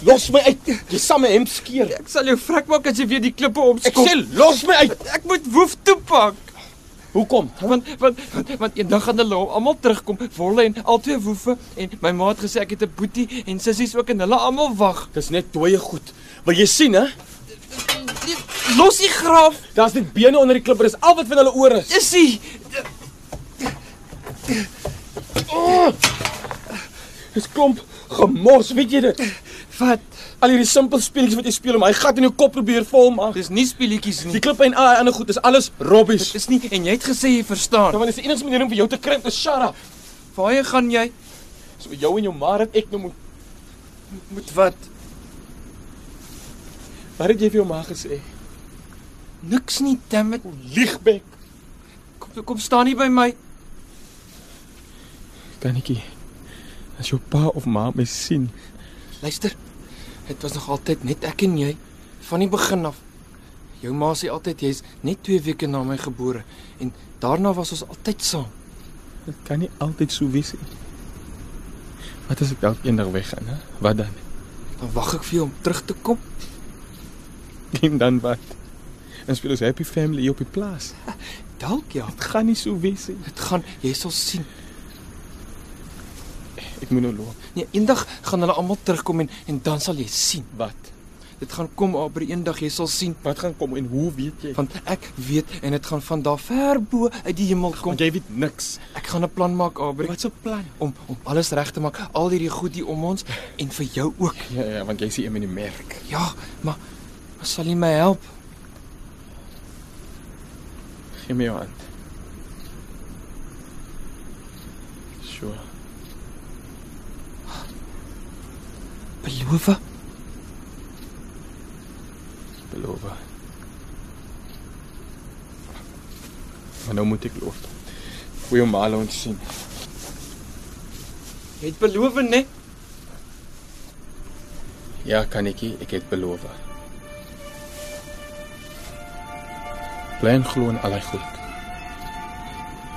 B: Los my uit. Jy sal my hemp skeer.
D: Ek sal jou vrek maak as jy weer die klippe
B: Ek
D: omskop.
B: sê los my uit.
D: ek moet woef toepak.
B: Hoekom?
D: Want want want, want eendag gaan hulle hom almal terugkom, Wolle en albei woefe en my ma het gesê ek het 'n boetie en sissies ook en hulle almal wag.
B: Dis net dooie goed. Wil jy sien, hè?
D: Los die graf,
B: Daar's net bene onder die klipper. Dis al wat van hulle oor is.
D: is hy.
B: Dis klomp gemors, weet jy dit?
D: Wat?
B: Al hierdie simpel speletjies wat jy speel om hy gat in jou kop probeer volmaak.
D: Dis nie speletjies nie.
B: Die klippe en al die ander goed is alles robbies.
D: Dit is nie en jy het gesê jy
B: Nou
D: verstaan.
B: want dis die enigste manier om vir jou te kry om te shut up.
D: Waarheen gaan jy?
B: So jou en jou ma dat ek nou moet.
D: Moet wat?
B: Wat het jy vir jou ma gesê?
D: Niks nie, dammit.
B: Liegbek.
D: Kom kom staan nie by my.
B: Kanetjie. As jou pa of ma my sien,
D: Luister. Dit was nog altyd net ek en jy van die begin af. Jou ma sê altyd jy's net 2 weke na my gebore en daarna was ons altyd saam.
B: dit kan nie altyd so wees nie. Wat as ek dalk eendag weggaan, hè? Wat dan?
D: Dan wag ek vir jou om terug te kom.
B: En dan wat? Ons speel ons happy family hier op die plaas.
D: Dalk ja.
B: Dit gaan nie so wees nie.
D: Dit gaan jy sal sien.
B: Ek moet nou loop.
F: Nee, eendag gaan hulle almal terugkom en en dan sal jy sien.
B: Wat?
F: Dit gaan kom Aubrey eendag, jy sal sien,
B: Wat gaan kom en hoe weet jy?
F: want ek weet en dit gaan van daar ver bo uit die hemel kom.
B: Want jy weet niks.
F: Ek gaan 'n plan maak, Aubrey,
B: Wat 'n plan?
F: om om alles reg te maak, al hierdie goed hier om ons en vir jou ook.
B: Ja ja, want jy sien hom in die merk.
F: Ja, maar maar sal jy my help?
B: Gee my jou hand. Sjoe.
F: Beloof?
B: Beloof. Maar nou moet ek loop. Goeie maal ons sien.
F: Jy het beloof, né?
B: Ja, kanetjie, ek het beloof. Bly en glo in al hy goed.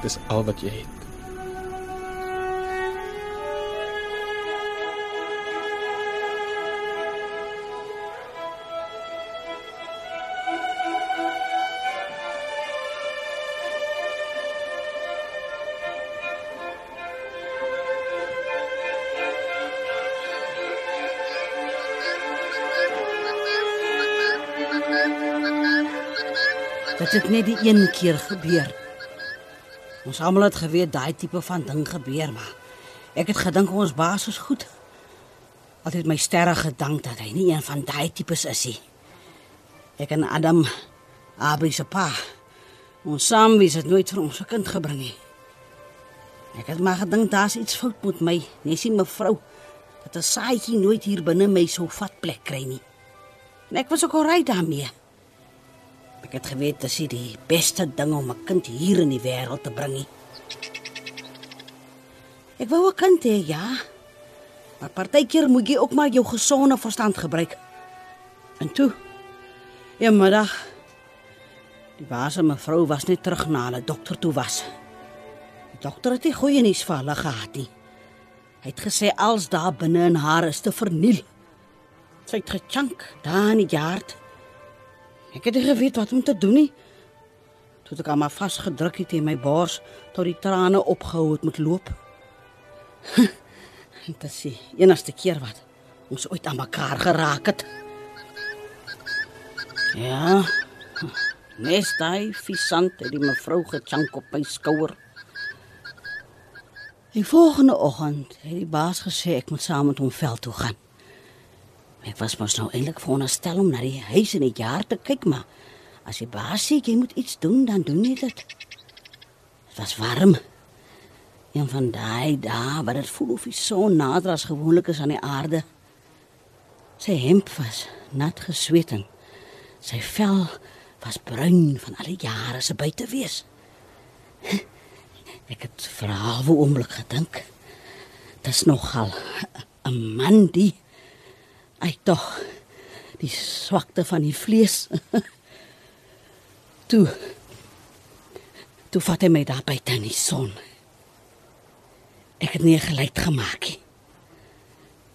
B: Dis al wat jy het.
I: Dit het net die een keer gebeur. Ons almal het geweet daai tipe van ding gebeur, maar ek het gedink ons baas is goed. Altyd my sterre gedank dat hy nie een van daai tipes is nie. Ek en Adam, Abri se pa, ons saam wie het nooit vir ons se kind gebring nie. Ek het maar gedink daar's iets fout met my, net sien mevrou dat 'n saaitjie nooit hier binne my so vatplek kry nie. En ek was ook al reg daarmee. Ek het geweet dis nie die beste ding om 'n kind hier in die wêreld te bring nie. Ek wou 'n kind hê, ja. Maar partykeer moet jy ook maar jou gesonde verstand gebruik. En toe, eendag die baas en mevrou was net terug na hulle dokter toe was. Die dokter het nie goeie nuus vir hulle gehad nie. Hy het gesê als daar binne in haar is te verniel. Sy het gechunk daar in die hart Ek het nie geweet wat om te doen nie. Toe het ek aan my vasgedruk het in my bors tot die trane opgehou het met loop. Dit is die enigste keer wat ons ooit aan mekaar geraak het. Ja. Nes daai visant het die mevrou gechunk op my skouer. Die volgende oggend het die baas gesê ek moet saam met hom veld toe gaan. Ek was mos nou eintlik veronderstel om na die huis in die jaar te kyk, maar as die baas sê jy moet iets doen, dan doen jy dit. Dit was warm. Een van daai dae wat dit voel of die son nader as gewoonlik is aan die aarde. Sy hemp was nat gesweet en sy vel was bruin van al die jare se buite wees. Ek het vir 'n halwe oomblik gedink. Dis nogal 'n man die Ai tog. Die swakte van die vlees. toe. Toe vat hy my daar buite in die son. Ek het nie 'n geluid gemaak nie.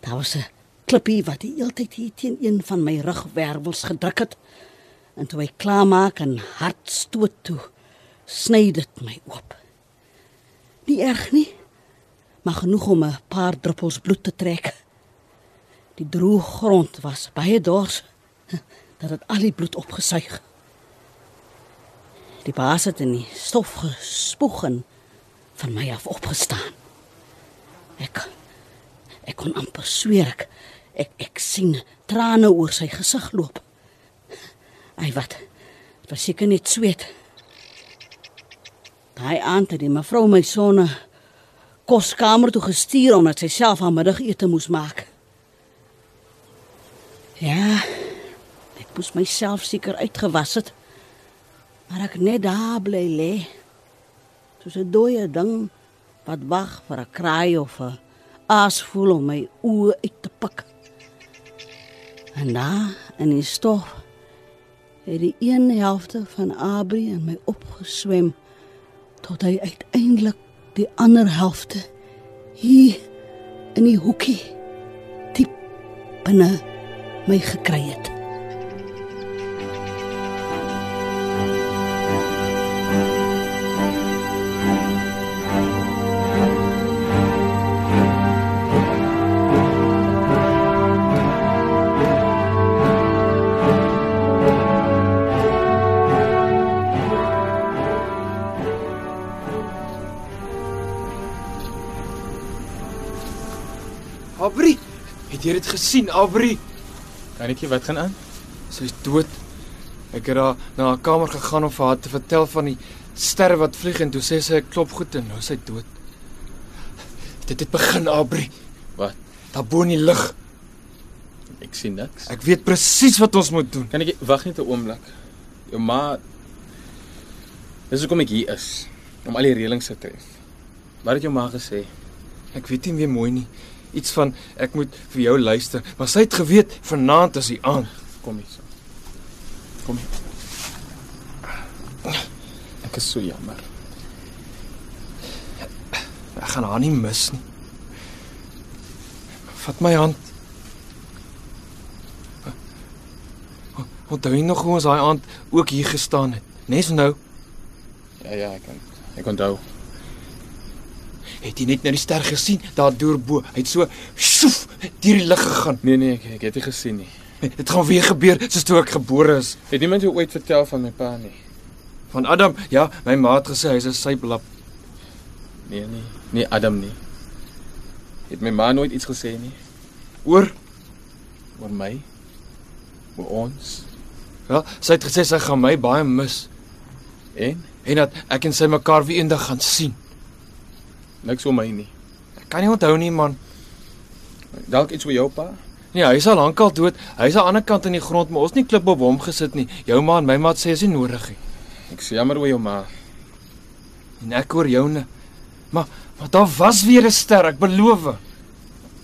I: Daar was 'n klippie wat die hele tyd hier teen een van my rugwervels gedruk het. En toe hy klaarmaak en hard stoot toe, sny dit my oop. Nie erg nie, maar genoeg om 'n paar druppels bloed te trek. Die droë grond was baie dors dat dit al die bloed opgesuig. Die baas het in die stof gespoeg en van my af opgestaan. Ek ek kon amper sweer ek ek, ek sien trane oor sy gesig loop. Ai wat. Dit was seker net sweet. Daai aand het die mevrou my sonne koskamer toe gestuur omdat sy self haar middagete moes maak. Ja. Ek moes myself seker uitgewas het. Maar ek net daar bly lê. Soos 'n dooie ding wat wag vir 'n kraai of 'n aasvoël om my oë uit te pik. En daar in die stof het die een helfte van Abri in my opgeswem tot hy uiteindelik die ander helfte hier in die hoekie diep binne my gekry het.
D: Het jy dit gesien, Aubrey?
B: Karretjie, wat gaan aan?
D: Sy's dood. Ek het haar na haar kamer gegaan om vir haar te vertel van die sterre wat vlieg en toe sê sy ek klop goed en nou is sy dood. Dit het begin, Aubrey.
B: Wat?
D: Daar bo in die lug.
B: Ek sien niks.
D: Ek weet presies wat ons moet doen.
B: Kan ek wag net 'n oomblik? Jou ma Dis hoekom ek hier is om al die reëlings te tref. Wat het jou ma gesê?
D: Ek weet nie meer mooi nie. Iets van ek moet vir jou luister, maar sy het geweet vanaand is die aand.
B: Kom hier. so. Kom hier. Ek is so jammer.
D: Ek gaan haar nie mis nie. Vat my hand. Onthou jy nog hoe ons daai aand ook hier gestaan het? Nes nou
B: Ja ja, ek kan. Ek onthou.
D: het jy net nou die ster gesien daar deurbo. Hy het so sjoef deur die lug gegaan.
B: Nee nee, ek, ek het dit gesien nie.
D: Dit gaan weer gebeur soos toe ek gebore is.
B: Het niemand jou ooit vertel van my pa nie?
D: Van Adam, ja, my ma het gesê hy's 'n syplap.
B: Nee nee, nie Adam nie. Het my ma nooit iets gesê nie
D: Oor
B: oor my? Oor ons?
D: Wel, ja, sy het gesê sy gaan my baie mis
B: En
D: en dat ek en sy mekaar weer eendag gaan sien.
B: niks oor my nie.
D: Ek kan nie onthou nie man.
B: Dalk iets oor jou pa?
D: Nee, hy is al lankal dood. Hy's aan die ander kant in die grond, maar ons het nie klip op hom gesit nie. Jou ma en my ma het sê is nie nodig nie.
B: Ek is jammer oor jou ma.
D: En ek hoor joune. Maar maar daar was weer 'n ster, ek beloof.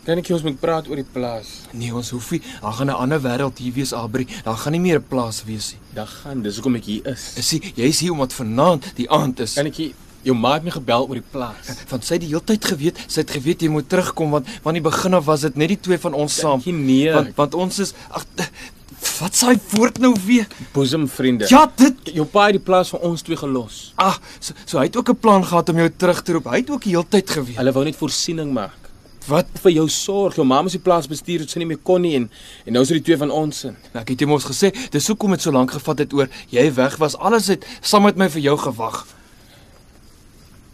B: Kan ek jy ons moet praat oor die plaas?
D: Nee, ons hoef nie. Daar gaan 'n ander wêreld hier wees, Abri. Daar gaan nie meer 'n plaas wees nie.
B: Dag gaan, dis hoekom ek hier is.
D: Is jy jy's hier omdat vanaand die aand is.
B: Kan ek jy jou ma het my gebel oor die plaas.
D: van sy het die heeltyd geweet, sy het geweet jy moet terugkom want van die begin af was dit net die twee van ons saam.
B: Dankie, nee.
D: Want want ons is ag wat s'hy woord nou weer?
B: Bosemvriende.
D: Ja, dit
B: jou pa het die plaas vir ons twee gelos.
D: Ah, so, so hy het ook 'n plan gehad om jou terug te roep. Hy het ook die hele tyd geweet.
B: Hulle wou net voorsiening maak
D: Wat?
B: vir jou sorg. Jou ma moes die plaas bestuur het sy nie meer kon nie en en nou is dit die twee van ons in.
D: Nou, ek het hom ons gesê, dis hoekom dit so lank gevat het oor jy weg was. Alles het saam met my vir jou gewag.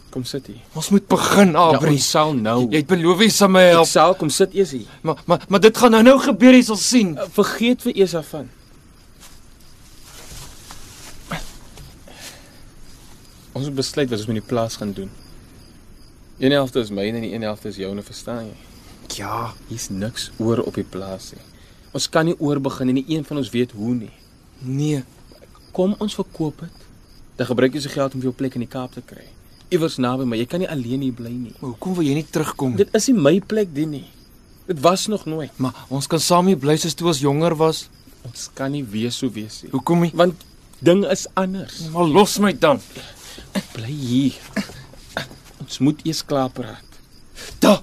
B: Kom sit hier.
D: Ons moet begin, Abri.
B: ons Ja, sal nou.
D: Jy het beloof jy sal my help.
B: Ek sal kom sit eers hier.
D: Maar maar maar dit gaan nou nou gebeur, jy sal sien.
B: Uh, Vergeet vir eers daarvan. Ons het besluit wat ons met die plaas gaan doen. Een helfte is myne en die een helfte is joune, verstaan jy?
D: Ja,
B: Hier's niks oor op die plaas nie. Ons kan nie oor begin en nie een van ons weet hoe nie.
D: nee.
B: Kom ons verkoop dit. Dan gebruik jy se geld om vir jou plek in die Kaap te kry. Iewers naby my. Jy kan nie alleen hier bly nie.
D: Maar hoekom wil jy nie terugkom? Dit...
B: Dit is nie my plek dit nie. Dit was nog nooit.
D: Maar ons kan saam hier bly soos toe ons jonger was.
B: Ons kan nie weer so wees nie.
D: Hoekom nie?
B: Want ding is anders.
D: Maar los my dan.
B: Nou Bly hier. Ons moet eers klaar praat.
D: Da.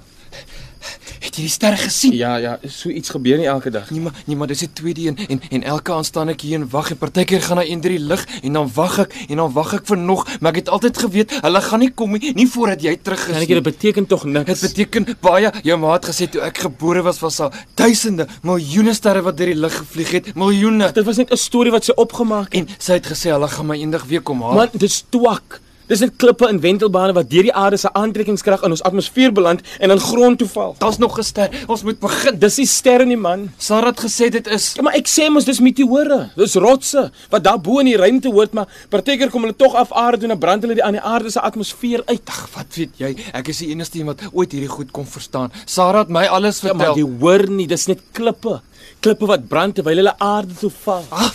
D: Het jy die ster gesien?
B: Ja, ja, so iets gebeur nie elke dag.
D: Nee maar, nee maar dis die tweede een en en elke aand staan ek hier en wag en partykeer gaan daar een drie lig en dan wag ek en dan wag ek vir nog, maar ek het altyd geweet hulle gaan nie kom nie, nie voordat jy terug is
B: Kennetjie,
D: nie.
B: dit beteken tog
D: Dit
B: niks.
D: beteken baie. Jou ma het gesê toe ek gebore was was daar duisende, miljoene sterre wat deur die lug gevlieg het, miljoene.
B: Dit was net 'n storie wat sy opgemaak het.
D: En sy het gesê hulle gaan my eendag weer kom haal.
B: Man, dis twak. Dis net klippe en wentelbane wat deur die aarde se aantrekkingskrag in ons atmosfeer beland en in grond toe val.
D: daar's nog 'n ster. Ons moet begin.
B: Dis nie sterre nie, man.
D: Sarah het gesê dit is
B: Ja, maar ek sê mos dis meteore. Dis rotse wat daarbo in die ruimte hoort, maar partykeer kom hulle tog af aarde toe en dan brand hulle die aan die aarde se atmosfeer uit.
D: Ag, wat weet jy? Ek is die enigste een wat ooit hierdie goed kon verstaan. Sarah het my alles
B: Ja, maar
D: vertel.
B: jy hoor nie, dis net klippe. Klippe wat brand terwyl hulle aarde toe val.
D: Ah,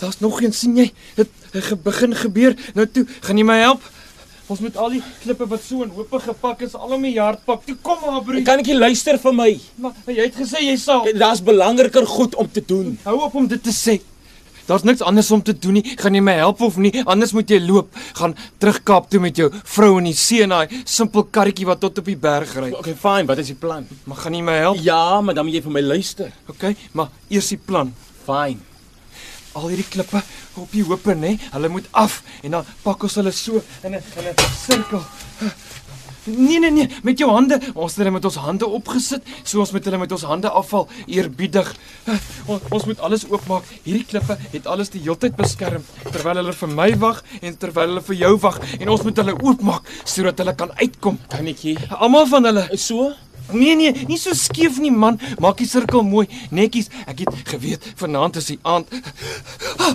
D: daar's nog een sien jy? Dit het ge- begin gebeur. Nou toe, gaan jy my help? Ons moet al die klippe wat so in hope gepak is, al om 'n jaar pak. Toe kom maar, broer.
B: Ek kan ek nie luister vir my.
D: Maar jy het gesê jy sal.
B: Kyk, Daar's belangriker goed om te doen.
D: Hou op om dit te sê. Daar's niks anders om te doen nie. Gaan jy my help of nie? Anders moet jy loop. Gaan terug Kaap toe met jou vrou in die see en daai simpel karretjie wat tot op die berg ry.
B: Okay, fine, wat is die plan?
D: Maar gaan jy my help?
B: Ja, maar dan moet jy vir my luister.
D: Okay, maar eers die plan.
B: Fine.
D: Al hierdie klippe op die hope, nê? Hulle moet af en dan pak ons hulle so in 'n in 'n sirkel. Nee nee nee, met jou hande. Ons het hulle met ons hande opgesit, so ons moet hulle met ons hande afval, eerbiedig. Ons, ons moet alles oopmaak. Hierdie klippe het alles die heeltyd beskerm terwyl hulle vir my wag en terwyl hulle vir jou wag en ons moet hulle oopmaak sodat hulle kan uitkom.
B: Kan ek hier?
D: Almal van hulle.
B: So?
D: Nee nee, nie so skeef nie man. Maak die sirkel mooi, netjies. Ek het geweet vanaand is die aand. Ah,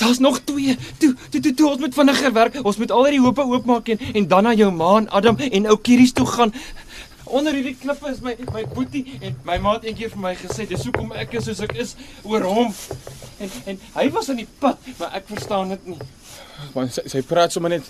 D: Daar's nog twee. Toe, toe, toe, toe ons moet vinniger werk. Ons moet al hierdie hope oopmaak en en dan na jou ma en Adam en ou Kieries toe gaan. Onder hierdie klippe is my my boetie en my maat eendag vir my gesê, "Dis hoekom ek is soos ek is oor hom." En en hy was aan die pad, maar ek verstaan dit nie.
B: Want sy, sy praat sommer net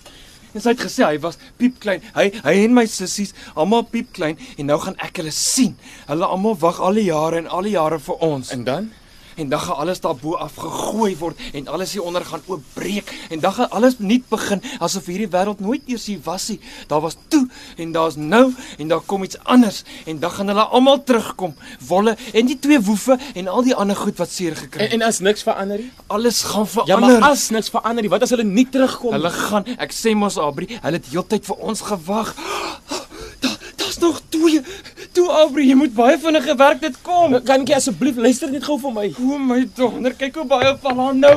D: En sy het gesê hy was piepklein. Hy hy en my sissies, almal piepklein en nou gaan ek hulle sien. Hulle almal wag al die jare en al die jare vir ons. En,
B: en dan
D: en dan gaan alles daarbo af gegooi word en alles hier onder gaan oopbreek en dan gaan alles nuut begin asof hierdie wêreld nooit eers hier was nie. Daar was toe en daar's nou en daar kom iets anders en dan gaan hulle almal terugkom. Wolle en die twee woefe en al die ander goed wat seer gekry
B: en,
D: het.
B: en as niks verander nie.
D: Alles gaan
B: Ja,
D: verander.
B: maar as niks verander nie, wat as hulle nie terugkom?
D: Hulle gaan, ek sê mos Abri, hulle het heeltyd vir ons gewag. Daar daar's nog twee. Toe Abri, jy moet baie vinnig gewerk dit kom.
B: Kanetjie asseblief luister net gou vir my.
D: O my donder, kyk hoe baie val haar nou.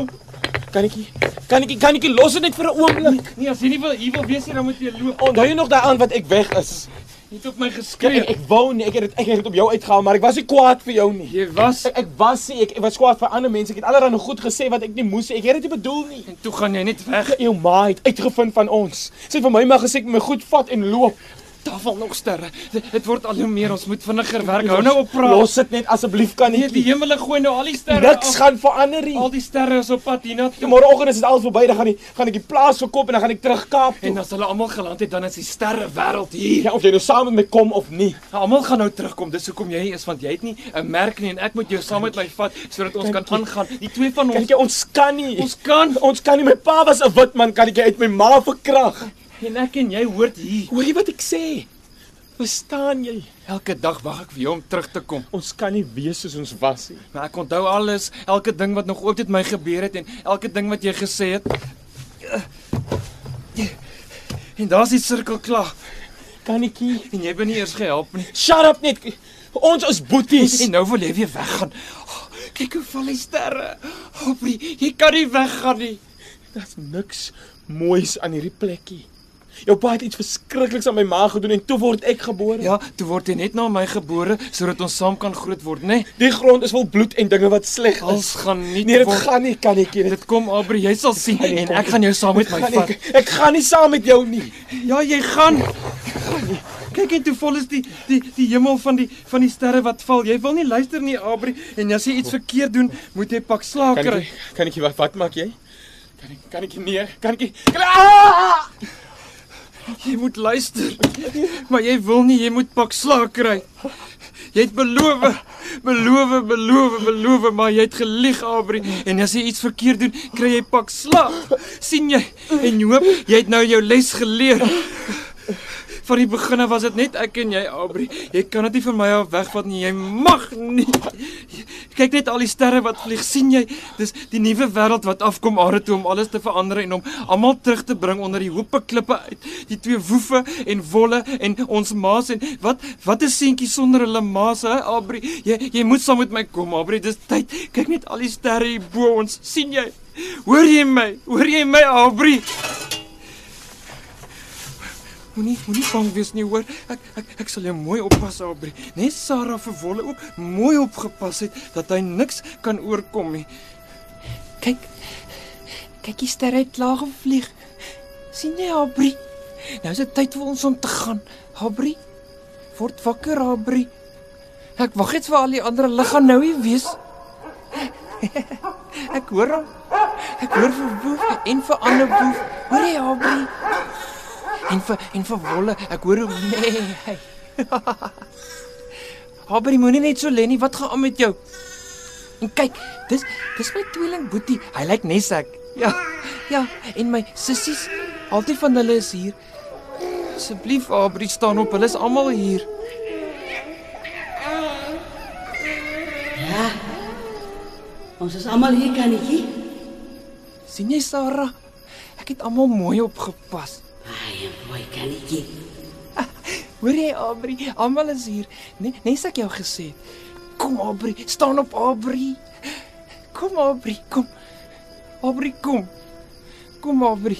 B: Kanetjie. Kanetjie, kanetjie los dit net vir 'n oomblik.
D: Nee, as jy nie wil hier wil wees nie, dan moet jy loop.
B: Onthou jy nog daai aand wat ek weg is?
D: Jy het op my
B: Ek Ja, ek,
D: geskree.
B: ek wou nie, ek het dit- ek het dit op jou uitgehaal, maar ek was nie kwaad vir jou nie.
D: Jy was
B: Ek, ek was nie, ek, ek was kwaad vir ander mense. Ek het allerlei goed gesê wat ek nie moes sê. Ek het dit nie bedoel nie.
D: en toe gaan jy net weg.
B: Jou ma het uitgevind van ons. Sy het vir my maar gesê ek moet my goed vat en loop.
D: Daar val nog sterre. Dit dit word al hoe meer. Ons moet vinniger werk. Hou nou op praat.
B: Los dit net asseblief
D: Nee, die
B: kanetjie.
D: hemel gooi nou al die sterre.
B: Niks gaan verander
D: Al
B: nie.
D: die sterre is op pad hiernatoe.
B: Môreoggend is dit al verby, dan gaan ek gaan ek die plaas verkoop en dan gaan ek terug Kaap toe.
D: En as hulle almal geland het, dan is die sterre wêreld hier.
B: Ja, of jy nou saam met my kom of nie.
D: Almal gaan nou terugkom. Dis hoekom jy hier is want jy het nie 'n merk nie en ek moet jou saam met my vat sodat ons kan aangaan. Die twee van ons
B: Kyk, ons kan nie.
D: ons kan
B: Ons kan nie. My pa was 'n wit man, kan ek uit my ma verkrag.
D: en ek en jy hoort hier.
B: Hoor jy wat ek sê? Verstaan jy?
D: Elke dag wag ek vir jou om terug te kom.
B: Ons kan nie wees soos ons was nie.
D: Maar Nou, ek onthou alles, elke ding wat nog ooit met my gebeur het en elke ding wat jy gesê het. En daar's die sirkel klaar
B: Kannetjie,
D: en jy het my nie eers gehelp nie.
B: shut up net. Ons is boeties.
D: En nou wil jy weer weggaan. Oh, kyk hoe val die sterre. Hoprie, jy kan nie weggaan nie.
B: Daar's niks moois aan hierdie plekkie. Jou pa het iets verskrikliks aan my ma gedoen en toe word ek gebore.
D: Ja, toe word jy net na my gebore sodat ons saam kan groot word, né? Nee?
B: Die grond is vol bloed en dinge wat sleg
D: Alles
B: is.
D: gaan nie
B: Nee, dit gaan nie, kannetjie. Dit
D: Dit kom Aubrey, jy sal sien en ek gaan jou saam met my
B: gaan
D: vat.
B: nie. Ek gaan nie saam met jou nie.
D: Ja, jy gaan. Kyk net hoe vol is die die die hemel van die van die sterre wat val. Jy wil nie luister nie, Aubrey, en as jy iets verkeerd doen, moet jy pak slaag
B: Kan
D: kry.
B: ek kan ek wat wat maak jy? Kan ek kan ek nee, kan ek kan ek ah!
D: Jy moet luister. Maar jy wil nie, jy moet pak slaag kry. Jy het beloof, beloof, beloof, beloof, maar jy het gelieg, Aubrey. En as jy iets verkeerd doen, kry jy pak slaag. sien jy? En hoop, jy het nou jou les geleer. Van die begin af was dit net ek en jy, Aubrey. Jy kan dit nie van my af wegvat nie. Jy mag nie. Kyk net al die sterre wat vlieg. sien jy? Dis die nuwe wêreld wat afkom aarde toe om alles te verander en om almal terug te bring onder die hoope klippe uit. Die twee woefe en wolle en ons maas en wat wat is seentjie sonder hulle maas, hè, Aubrey? Jy jy moet saam met my kom, Aubrey. Dis tyd. Kyk net al die sterre hier bo ons. sien jy? Hoor jy my? Hoor jy my, Aubrey? Moenie moenie bang wees nie hoor. Ek ek ek sal jou mooi oppas Aubrey. Net Sarah vir Wolle ook mooi opgepas het dat hy niks kan oorkom nie.
F: Kyk. Kyk, die sterre het laag gevlieg. sien jy, Aubrey?
D: Nou is dit tyd vir ons om te gaan. Aubrey, word wakker Aubrey.
F: Ek wag net vir al die ander hulle gaan nou hier wees. ek hoor hom. Ek hoor vir boef en vir ander boef. Hoor jy, Aubrey? En vir en vir wolle. Ek hoor hom. Nee. Aubrey moenie net so lê nie. Wat gaan aan met jou? En kyk, dis dis my tweeling Boetie. Hy lyk nes ek. Ja. Ja, en my sissies, altyd van hulle is hier.
D: Asseblief Aubrey staan op. Hulle is almal hier.
I: Ons is almal hier kannetjie.
D: sien jy Sarah? Ek het almal mooi opgepas.
I: Ai, mooi kannetjie.
D: Hoor jy Aubrey? Almal is hier. Net nes ek jou gesê het. Kom Aubrey, staan op Aubrey. Kom Aubrey, kom. Aubrey kom. Kom Aubrey.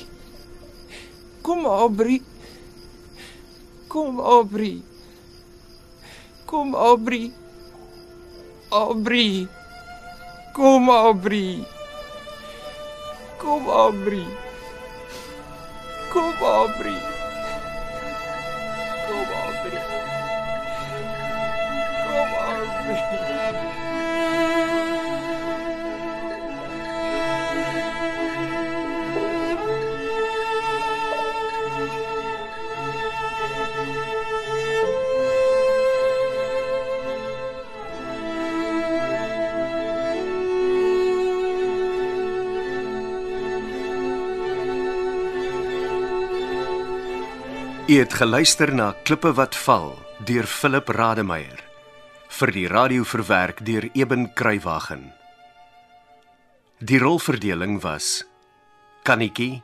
D: Kom Aubrey. Kom Aubrey.
F: Kom Aubrey. Aubrey. Kom Aubrey. Kom Aubrey. Kom Aubrey. Kom Aubrey. Kom Aubrey.
A: U het geluister na Klippe wat val deur Philip Rademeier vir die radio verwerk deur Eben Kruiwagen. Die rolverdeling was Kannetjie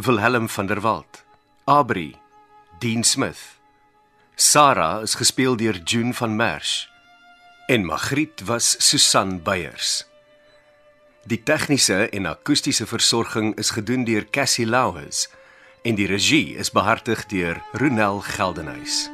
A: Wilhelm van der Walt, Abri Dean Smith. Sarah is gespeel deur June van Merch en Magriet was Susan Beyers. Die tegniese en akoestiese versorging is gedoen deur Cassie Lauers en die regie is behartig deur Ronel Geldenhuys.